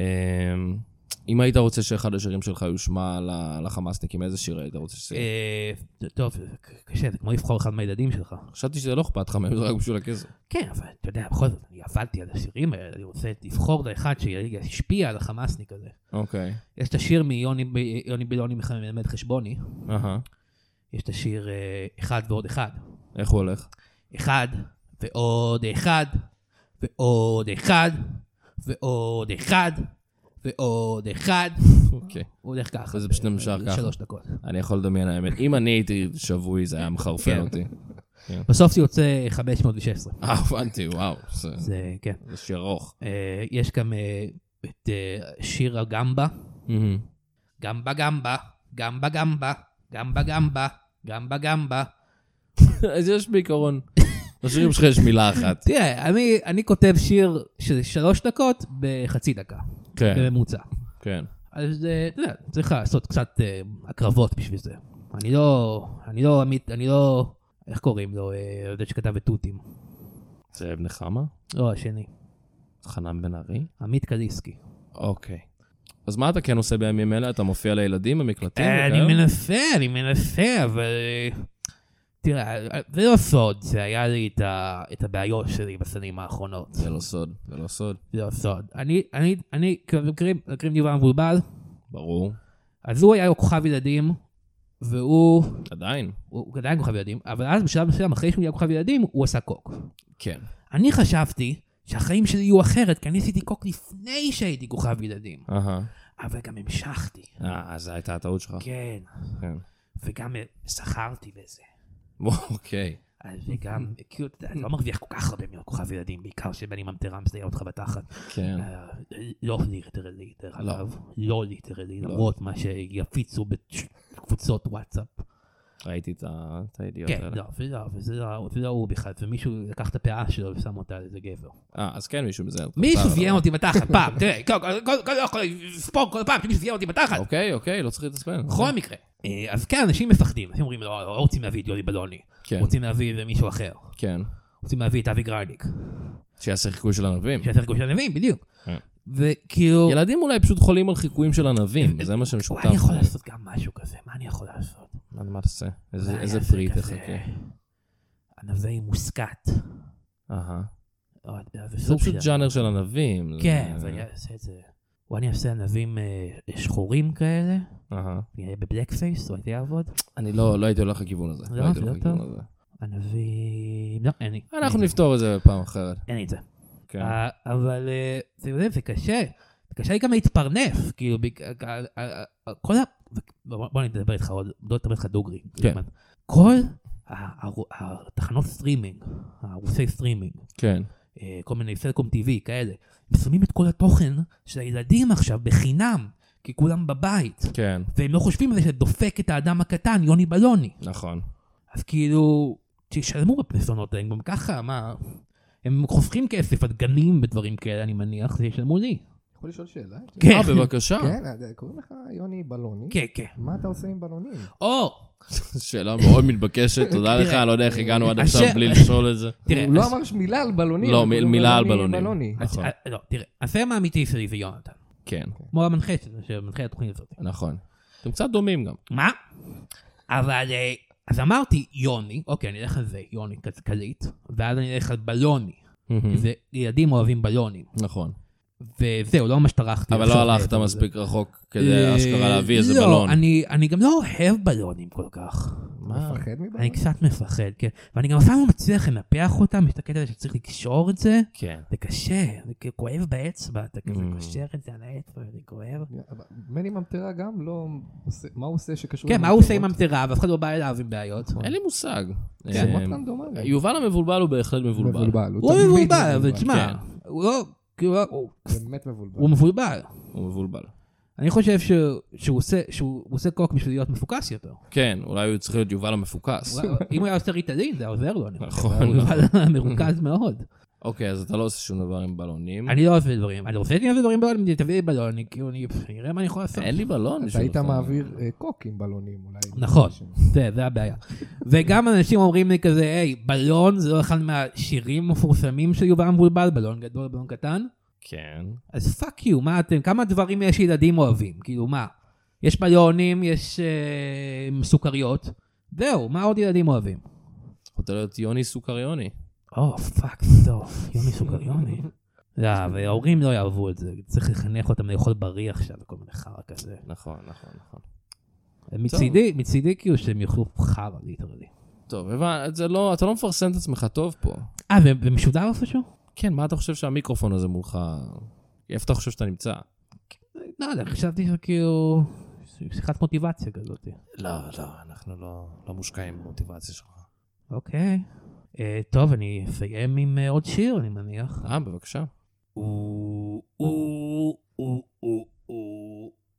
Speaker 1: אם היית רוצה שאחד השירים שלך יושמע ל- לחמאסניקים, איזה שיר היית רוצה שזה... יהיה?
Speaker 2: אה, זה טוב, זה ק- קשה, זה כמו לבחור אחד מהילדים שלך.
Speaker 1: חשבתי שזה לא אכפת לך מהם, זה רק בשביל הכסף.
Speaker 2: כן, אבל אתה יודע, בכל זאת, אני עבדתי על השירים האלה, אני רוצה לבחור את האחד שישפיע על החמאסניק הזה.
Speaker 1: אוקיי.
Speaker 2: יש את השיר מיוני ב- יוני בילוני מלמד חשבוני,
Speaker 1: אהה.
Speaker 2: יש את השיר אה, אחד ועוד אחד.
Speaker 1: איך הוא הולך?
Speaker 2: אחד, ועוד אחד, ועוד אחד, ועוד אחד, ועוד אחד.
Speaker 1: אוקיי.
Speaker 2: הוא הולך ככה. אה,
Speaker 1: וזה פשוט נמשך ככה.
Speaker 2: שלוש דקות.
Speaker 1: אני יכול לדמיין האמת. אם אני הייתי שבוי, זה היה מחרפן
Speaker 2: כן.
Speaker 1: אותי.
Speaker 2: בסוף זה יוצא 516.
Speaker 1: אה, הבנתי, וואו. זה-
Speaker 2: זה, כן.
Speaker 1: זה שיר ארוך.
Speaker 2: אה, יש גם אה, את אה, שיר הגמבה.
Speaker 1: מהמם.
Speaker 2: גמבה גמבה, גמבה גמבה, גמבה גמבה, גמבה גמבה.
Speaker 1: אז יש בעיקרון. בשירים שלך יש מילה אחת.
Speaker 2: תראה, אני- אני כותב שיר של שלוש דקות בחצי דקה,
Speaker 1: כן,
Speaker 2: בממוצע.
Speaker 1: כן.
Speaker 2: אז אה, אתה יודע, צריך לעשות קצת אה, הקרבות בשביל זה. אני לא, אני לא עמית, אני לא, איך קוראים לו, אה, זה שכתב את תותים.
Speaker 1: זה אבן נחמה?
Speaker 2: לא, השני,
Speaker 1: חנן בן ארי?
Speaker 2: עמית קליסקי.
Speaker 1: אוקיי. אז מה אתה כן עושה בימים אלה? אתה מופיע לילדים במקלטים?
Speaker 2: אה, אני
Speaker 1: וכאלה?
Speaker 2: מנסה, אני מנסה, אבל... אה, תראה, אה, זה לא סוד שהיה לי את ה- את הבעיות שלי בשנים האחרונות.
Speaker 1: זה לא סוד, זה לא סוד.
Speaker 2: זה לא סוד. אני, אני, אני, כאילו, אתם מכירים, אתם מכירים דיבר מבולבל?
Speaker 1: ברור.
Speaker 2: אז הוא היה לו כוכב ילדים, והוא,
Speaker 1: עדיין.
Speaker 2: הוא עדיין כוכב ילדים, אבל אז בשלב מסוים, אחרי שהוא היה כוכב ילדים, הוא עשה קוק.
Speaker 1: כן.
Speaker 2: אני חשבתי שהחיים שלי יהיו אחרת, כי אני עשיתי קוק לפני שהייתי כוכב ילדים.
Speaker 1: אהה.
Speaker 2: אבל גם המשכתי.
Speaker 1: אה, אז זו הייתה הטעות שלך.
Speaker 2: כן.
Speaker 1: כן.
Speaker 2: וגם אה, סחרתי בזה.
Speaker 1: וואו, אוקיי.
Speaker 2: אז זה גם, כאילו, אתה יודע, אתה לא מרוויח כל כך הרבה מכוכב ילדים, בעיקר שבני ממטרה מזיין אותך בתחת.
Speaker 1: כן.
Speaker 2: אה, לא ליטרלי, דרך
Speaker 1: לא.
Speaker 2: אגב. לא ליטרלי,
Speaker 1: לא.
Speaker 2: למרות מה שיפיצו בקבוצות וואטסאפ.
Speaker 1: כן, ראיתי את ה- את הידיעות
Speaker 2: כן,
Speaker 1: האלה.
Speaker 2: לא, זה לא- וזה לא- זה לא הוא בכלל, זה מישהו לקח את הפאה שלו ושם אותה על איזה גבר.
Speaker 1: אה, אז כן, מישהו מזהה אותך.
Speaker 2: מישהו
Speaker 1: בסדר,
Speaker 2: זיין
Speaker 1: אבל-
Speaker 2: אותי בתחת פעם, תראה, כל- כל- כל- כל- לא יכול לספור כל פעם שמישהו זיין אותי בתחת,
Speaker 1: אוקיי, אוקיי, לא צריך להתעצבן.
Speaker 2: בכל מקרה. אה, אז כן, אנשים מפחדים, אנשים אומרים, לא, לא רוצים להביא את יוני בלוני,
Speaker 1: כן,
Speaker 2: רוצים להביא איזה מישהו אחר,
Speaker 1: כן.
Speaker 2: רוצים להביא את אבי גרייניק,
Speaker 1: שיעשה חיקוי של ענבים.
Speaker 2: שיעשה רגוש ענבים, בדיוק.
Speaker 1: כן.
Speaker 2: וכאילו,
Speaker 1: ילדים אולי פשוט חולים על חיקויים של ענבים, זה מה
Speaker 2: וואי,
Speaker 1: שמשותף.
Speaker 2: אני יכול לעשות גם משהו כזה, מה אני יכול לעשות?
Speaker 1: מה מה תעשה? איזה-
Speaker 2: אולי
Speaker 1: איזה
Speaker 2: אעשה
Speaker 1: פרי
Speaker 2: כזה
Speaker 1: תחכה.
Speaker 2: ענבי מוסקת.
Speaker 1: אהה.
Speaker 2: לא יודע,
Speaker 1: זה
Speaker 2: סוג
Speaker 1: פשוט
Speaker 2: של-
Speaker 1: ג'אנר אה. של ענבים. זה-
Speaker 2: כן, אבל אני אעשה את זה. או אני אעשה ענבים אה, שחורים כאלה,
Speaker 1: אהה.
Speaker 2: אני אהיה בבלק פייס, אולי זה יעבוד.
Speaker 1: אני לא לא הייתי הולך לכיוון הזה.
Speaker 2: לא,
Speaker 1: לא הייתי
Speaker 2: זה
Speaker 1: הולך
Speaker 2: לא
Speaker 1: לכיוון הזה.
Speaker 2: ענבים... לא, אין לי.
Speaker 1: אנחנו
Speaker 2: אין לי.
Speaker 1: נפתור את זה בפעם אחרת.
Speaker 2: אין לי את זה.
Speaker 1: כן.
Speaker 2: אה, אבל אה, אתם יודעים, זה קשה. זה קשה לי גם להתפרנף, כאילו, בג- אה, אה, אה, כל ה... בוא בוא אני אדבר איתך עוד, לא אדבר איתך דוגרי.
Speaker 1: כן.
Speaker 2: כל ה- ה- התחנות סטרימינג, הערוצי סטרימינג,
Speaker 1: כן.
Speaker 2: אה, כל מיני סלקום TV כאלה, הם שמים את כל התוכן של הילדים עכשיו בחינם, כי כולם בבית,
Speaker 1: כן.
Speaker 2: והם לא חושבים על זה שדופק את האדם הקטן, יוני בלוני.
Speaker 1: נכון.
Speaker 2: אז כאילו, תשלמו בפלסונות האלה, גם ככה, מה... הם חופכים כסף על גנים ודברים כאלה, אני מניח, שישלמו לי.
Speaker 3: יכול לשאול שאלה?
Speaker 1: אה, בבקשה.
Speaker 3: כן, אה, קוראים לך יוני בלוני?
Speaker 2: כן, כן.
Speaker 3: מה אתה עושה עם בלונים?
Speaker 2: או,
Speaker 1: שאלה מאוד מתבקשת, תודה לך, אני לא יודע איך הגענו עד עכשיו
Speaker 2: אשר-
Speaker 1: בלי לשאול את זה.
Speaker 2: תראה,
Speaker 3: הוא לא
Speaker 2: אז-
Speaker 3: אמר ש- מילה על בלונים.
Speaker 1: לא,
Speaker 3: אבל
Speaker 1: מ-
Speaker 3: הוא
Speaker 1: מילה על
Speaker 3: בלוני,
Speaker 1: בלונים.
Speaker 3: בלוני.
Speaker 1: אה, נכון.
Speaker 2: אז- אה, לא, תראה, הסרם האמיתי שלי זה יונתן.
Speaker 1: כן,
Speaker 2: כמו המנחה של- שמנחה התוכנית הזאת.
Speaker 1: נכון. אתם קצת דומים גם.
Speaker 2: מה? אבל, אה, אז אמרתי, יוני, אוקיי, אני אלך על זה, יוני כלכלית, ואז אני אלך על בלוני.
Speaker 3: Mm.
Speaker 2: כי זה, ילדים אוהבים בלונים.
Speaker 1: Mhm. נכון.
Speaker 2: וזהו, לא ממש טרחתי.
Speaker 1: אבל
Speaker 2: לחשוב
Speaker 1: לא הלכת
Speaker 2: מעבר לזה.
Speaker 1: מספיק רחוק
Speaker 2: אה,
Speaker 1: כדי אשכרה להביא איזה בלון.
Speaker 2: לא, אני- אני גם לא אוהב בלונים כל כך.
Speaker 1: מה?
Speaker 3: מפחד מבלונים?
Speaker 2: אני קצת מפחד, כן. ואני גם אף פעם לא מצליח לנפח אותם, יש את הקטע הזה שצריך לקשור את זה.
Speaker 1: כן.
Speaker 2: זה קשה, זה כ- כואב באצבע, אתה כזה
Speaker 1: Mm.
Speaker 2: קושר את זה על האצבע, זה כואב.
Speaker 3: אבל מני ממטרה גם לא... עושה- מה הוא עושה שקשור...
Speaker 2: כן, מה הוא עושה עם
Speaker 3: לממטרות?
Speaker 2: המטרה, ואף אחד לא בא אליו עם בעיות.
Speaker 1: אין לי מושג.
Speaker 3: שמות
Speaker 1: אה,
Speaker 3: רנדומליים.
Speaker 1: יובל המבולבל הוא בהחלט מבולבל.
Speaker 3: כן, נכון. מבולבל.
Speaker 2: הוא
Speaker 3: תמיד
Speaker 2: מבולבל, אבל תשמע,
Speaker 1: כן.
Speaker 2: הוא לא, כאילו, הוא-
Speaker 3: הוא באמת מבולבל.
Speaker 2: הוא מבולבל.
Speaker 1: הוא מבולבל.
Speaker 2: אני חושב ש- שהוא עושה- שהוא הוא עושה קוק בשביל להיות מפוקס יותר.
Speaker 1: כן, אולי הוא צריך להיות יובל המפוקס.
Speaker 2: הוא- אם הוא היה עושה ריטלין, זה היה עוזר לו, אני חושב.
Speaker 1: נכון,
Speaker 2: הוא מבולבל מרוכז מאוד.
Speaker 1: אוקיי, אז אתה לא עושה שום דבר עם בלונים.
Speaker 2: אני לא עושה דברים, אני רוצה שאני אעשה דברים בלון, תביא לי בלון, אני כאילו, אני אני אראה מה אני יכול לעשות.
Speaker 1: אין לי בלון.
Speaker 3: אתה
Speaker 1: בשביל
Speaker 3: היית
Speaker 1: אותם.
Speaker 3: מעביר אה, קוק עם בלונים אולי.
Speaker 2: נכון, זה, זה הבעיה. וגם אנשים אומרים לי כזה, היי, בלון זה לא אחד מהשירים המפורסמים של יובל המבולבל, בלון גדול, בלון קטן.
Speaker 1: כן.
Speaker 2: אז פאק יו, מה אתם, כמה דברים יש ילדים אוהבים? כאילו, מה? יש בלונים, יש אה, סוכריות, זהו, מה עוד ילדים אוהבים?
Speaker 1: יכולת להיות יוני סוכריוני.
Speaker 2: או, פאק, טוב, Oh, לא, יוני סוכריוני. לא, וההורים לא יאהבו את זה, צריך לחנך אותם לאכול בריא עכשיו, כל מיני חרא כזה.
Speaker 1: נכון, נכון, נכון.
Speaker 2: מצידי, מצידי כאילו שהם יאכלו חרא, ליטרלי.
Speaker 1: טוב, הבנ- זה לא, אתה לא מפרסם את עצמך טוב פה.
Speaker 2: אה, זה- זה משודר איפשהו?
Speaker 1: כן, מה אתה חושב שהמיקרופון הזה מולך... איפה אתה חושב שאתה נמצא?
Speaker 2: לא יודע, חשבתי שכאילו... שיחת מוטיבציה כזאת.
Speaker 1: לא, לא, אנחנו לא, לא מושקעים במוטיבציה שלך.
Speaker 2: אוקיי. אה, טוב, אני אסיים עם אה, עוד שיר, אני מניח.
Speaker 1: אה, בבקשה.
Speaker 2: או, או, או, או, או,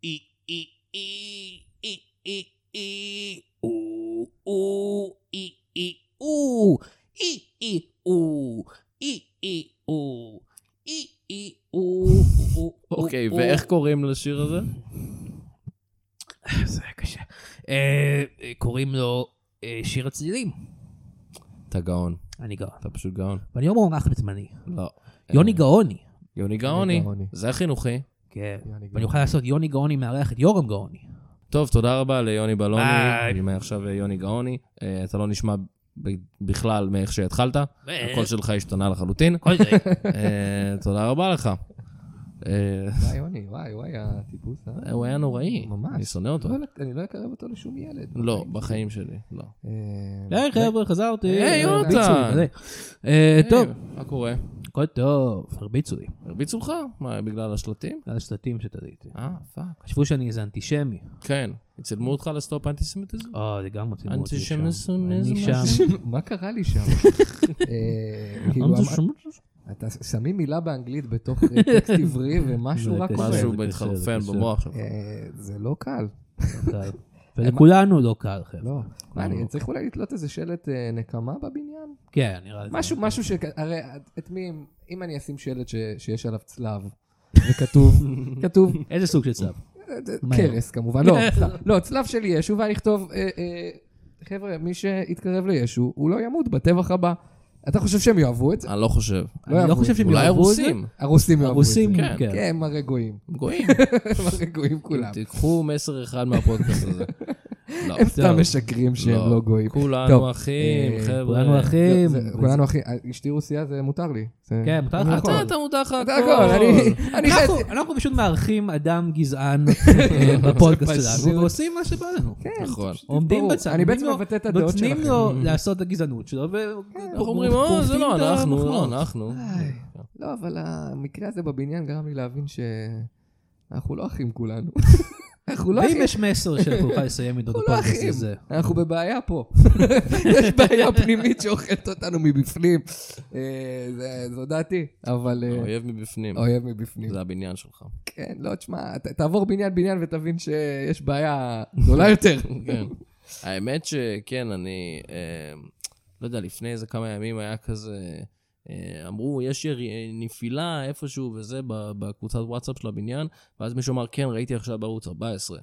Speaker 2: אי, אי, אי, אי, אי, אי, או, או, אי, אי, או, אי, אי, או, אי, אי, או, אי, אי, או, או, או,
Speaker 1: אוקיי,
Speaker 2: או.
Speaker 1: ואיך קוראים לשיר הזה?
Speaker 2: זה היה קשה. אה, אה, קוראים לו אה, שיר הצלילים.
Speaker 1: אתה גאון.
Speaker 2: אני גאון.
Speaker 1: אתה פשוט גאון.
Speaker 2: ואני לא מוערך בזמני.
Speaker 1: לא.
Speaker 2: יוני
Speaker 1: אה,
Speaker 2: גאוני.
Speaker 1: יוני גאוני.
Speaker 3: גאוני.
Speaker 1: זה חינוכי.
Speaker 2: כן.
Speaker 3: יוני גאוני.
Speaker 2: ואני אוכל לעשות יוני גאוני מארח את יורם גאוני.
Speaker 1: טוב, תודה רבה ליוני בלוני.
Speaker 2: ביי.
Speaker 1: אני מעכשיו אה, יוני גאוני. אה, אתה לא נשמע ב- בכלל מאיך שהתחלת.
Speaker 2: אה.
Speaker 1: הקול שלך השתנה לחלוטין.
Speaker 2: כל זה.
Speaker 1: אה, תודה רבה לך. אה,
Speaker 3: וואי, יוני, וואי, וואי, הטיפוס, אה?
Speaker 1: הוא היה נוראי.
Speaker 3: ממש.
Speaker 1: אני שונא אותו.
Speaker 3: לא, אני לא אקרב אותו לשום ילד.
Speaker 1: לא, בחיים שלי. לא.
Speaker 3: אה,
Speaker 2: היי חבר'ה, חזרתי.
Speaker 1: היי, יונתן.
Speaker 2: אה, הרביצו לי, כזה. אה, טוב,
Speaker 1: היי, מה קורה?
Speaker 2: הכל טוב, הרביצו לי.
Speaker 1: הרביצו לך? מה, בגלל השלטים?
Speaker 2: על השלטים שתליתי.
Speaker 1: אה, פאק.
Speaker 2: חשבו שאני איזה אנטישמי.
Speaker 1: כן. צילמו אותך לסטופ אנטיסמיטיזם?
Speaker 2: אה, זה גם מוצאים אותי שם.
Speaker 1: אנטישמיזם.
Speaker 2: אני שם.
Speaker 3: מה קרה לי שם? אה,
Speaker 1: לא
Speaker 3: כאילו, אמר- אתה שמים מילה באנגלית בתוך אה, טקסט עברי ומשהו
Speaker 2: זה
Speaker 3: רק
Speaker 2: קשה.
Speaker 3: קורה.
Speaker 1: משהו
Speaker 2: זה קשה,
Speaker 1: מתחרפן
Speaker 2: זה קשה.
Speaker 1: במוח שלך.
Speaker 3: אה, זה לא קל.
Speaker 2: ולכולנו לא קל, חבר'ה.
Speaker 3: לא. מה,
Speaker 1: לא.
Speaker 3: אני צריך אולי לתלות איזה שלט אה, נקמה בבניין?
Speaker 2: כן, נראה לי.
Speaker 3: משהו, משהו ש... הרי את מי... אם אני אשים שלט ש- שיש עליו צלב, וכתוב, כתוב,
Speaker 2: איזה סוג של
Speaker 3: לא
Speaker 2: צו? לא
Speaker 3: קרס כמובן, לא, סתם. לא, צלב של ישו, ואני אכתוב, אה, אה, חבר'ה, מי שיתקרב לישו, הוא לא ימות בטבח הבא. אתה חושב שהם יאהבו את זה?
Speaker 1: אני לא חושב.
Speaker 2: אני לא
Speaker 3: יאהבו
Speaker 2: חושב
Speaker 3: את זה.
Speaker 2: שהם
Speaker 1: אולי
Speaker 2: יאהבו את זה.
Speaker 1: הרוסים.
Speaker 3: הרוסים יאהבו את זה.
Speaker 2: הרוסים,
Speaker 1: כן.
Speaker 2: כן.
Speaker 3: כן, הם הרי גויים.
Speaker 1: הם גויים.
Speaker 3: הם הרי גויים כולם.
Speaker 1: תיקחו מסר אחד מהפודקאסט הזה. לא,
Speaker 3: הם סתם
Speaker 2: טוב.
Speaker 3: משקרים שהם לא גויים. טוב.
Speaker 1: כולנו אחים,
Speaker 3: אה,
Speaker 1: חבר'ה.
Speaker 2: כולנו אחים.
Speaker 3: זה- זה- כולנו אחי, אשתי רוסייה זה מותר לי. זה-
Speaker 2: כן, נכון. מותר
Speaker 3: אני
Speaker 2: לך
Speaker 3: יכול.
Speaker 2: הכל.
Speaker 1: אתה, אתה מותר לך
Speaker 3: אתה הכל, אני... אני
Speaker 2: אנחנו-
Speaker 3: חצי-
Speaker 2: אנחנו פשוט מארחים אדם גזען אה, בפודקאסט
Speaker 3: פשוט.
Speaker 2: שלנו ועושים מה שבא לנו.
Speaker 3: כן,
Speaker 1: נכון.
Speaker 2: עומדים
Speaker 3: ברור.
Speaker 2: בצד,
Speaker 3: אני
Speaker 2: נותנים
Speaker 3: בעצם
Speaker 2: לו-
Speaker 3: מבטא את הדעות
Speaker 2: נותנים
Speaker 3: שלכם.
Speaker 2: לו לעשות את הגזענות שלו, ואנחנו
Speaker 1: כן, אנחנו אומרים, או, זה לא אנחנו, לא אנחנו.
Speaker 3: איי. לא, אבל המקרה הזה בבניין גרם לי להבין ש... אנחנו לא אחים כולנו. אנחנו לא
Speaker 2: ואם
Speaker 3: אחים.
Speaker 2: יש מסר שאנחנו נוכל לסיים איתו את
Speaker 3: לא
Speaker 2: הפודקאסט
Speaker 3: אחים.
Speaker 2: הזה.
Speaker 3: אנחנו בבעיה פה. יש בעיה פנימית שאוכלת אותנו מבפנים. אה, זה- זו דעתי, אבל... אה,
Speaker 1: האויב מבפנים.
Speaker 3: אויב מבפנים.
Speaker 1: זה הבניין שלך.
Speaker 3: כן, לא, תשמע, ת- תעבור בניין-בניין ותבין שיש בעיה גדולה יותר.
Speaker 1: כן. האמת שכן, אני... אה, לא יודע, לפני איזה כמה ימים היה כזה, אה, אמרו, יש ירי, אה, נפילה איפשהו וזה ב- בקבוצת וואטסאפ של הבניין, ואז מישהו אמר, כן, ראיתי עכשיו בערוץ 14.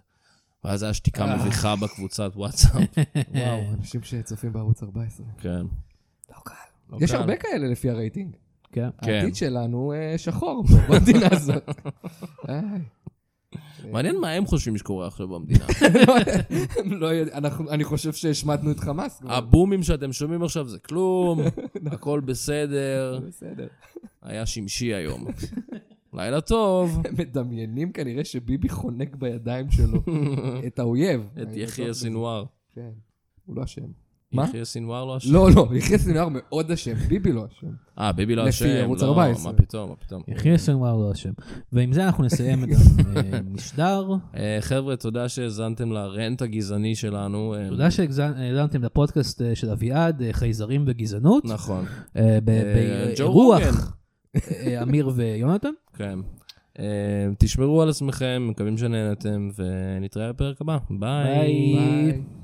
Speaker 1: ואז היה שתיקה
Speaker 3: אה.
Speaker 1: מביכה בקבוצת וואטסאפ.
Speaker 3: וואו, אה, אנשים שצופים בערוץ 14.
Speaker 1: כן.
Speaker 3: לא קל.
Speaker 1: לא
Speaker 3: יש
Speaker 1: קל.
Speaker 3: הרבה כאלה לפי הרייטינג.
Speaker 2: כן.
Speaker 1: כן.
Speaker 3: העתיד שלנו אה, שחור פה, במדינה הזאת. אה, איי.
Speaker 1: מעניין מה הם חושבים שקורה עכשיו במדינה.
Speaker 3: הם לא יודע- אנחנו- אני חושב שהשמטנו את חמאס כבר.
Speaker 1: הבומים שאתם שומעים עכשיו זה כלום, נכון. הכל בסדר,
Speaker 3: בסדר.
Speaker 1: היה שמשי היום. לילה טוב.
Speaker 3: הם מדמיינים כנראה שביבי חונק בידיים שלו את האויב.
Speaker 1: את
Speaker 3: אני בטוח
Speaker 1: יחיא
Speaker 3: בזה.
Speaker 1: סנוואר.
Speaker 3: כן, הוא לא אשם. מה?
Speaker 1: יחיא סנוואר לא אשם?
Speaker 3: לא, לא, יחיא סנוואר מאוד אשם, ביבי לא אשם.
Speaker 1: אה, ביבי לא
Speaker 3: לפי
Speaker 1: אשם.
Speaker 3: ערוץ
Speaker 1: לא,
Speaker 3: 14.
Speaker 1: מה פתאום, מה פתאום.
Speaker 2: יחיא סנוואר לא אשם. ועם זה אנחנו נסיים את המשדר.
Speaker 1: אה, חבר'ה, תודה שהאזנתם לרנט הגזעני שלנו. אה,
Speaker 2: תודה שהאזנתם לפודקאסט אה, של אביעד, אה, חייזרים וגזענות.
Speaker 1: נכון,
Speaker 2: אה, ב-
Speaker 1: אה, ג'ו
Speaker 2: באירוח
Speaker 1: רוגן.
Speaker 2: אה, אמיר ויונתן.
Speaker 1: כן. אה, תשמרו על עצמכם, מקווים שנהנתם, ונתראה בפרק הבא. ביי.
Speaker 2: ביי.
Speaker 3: ביי.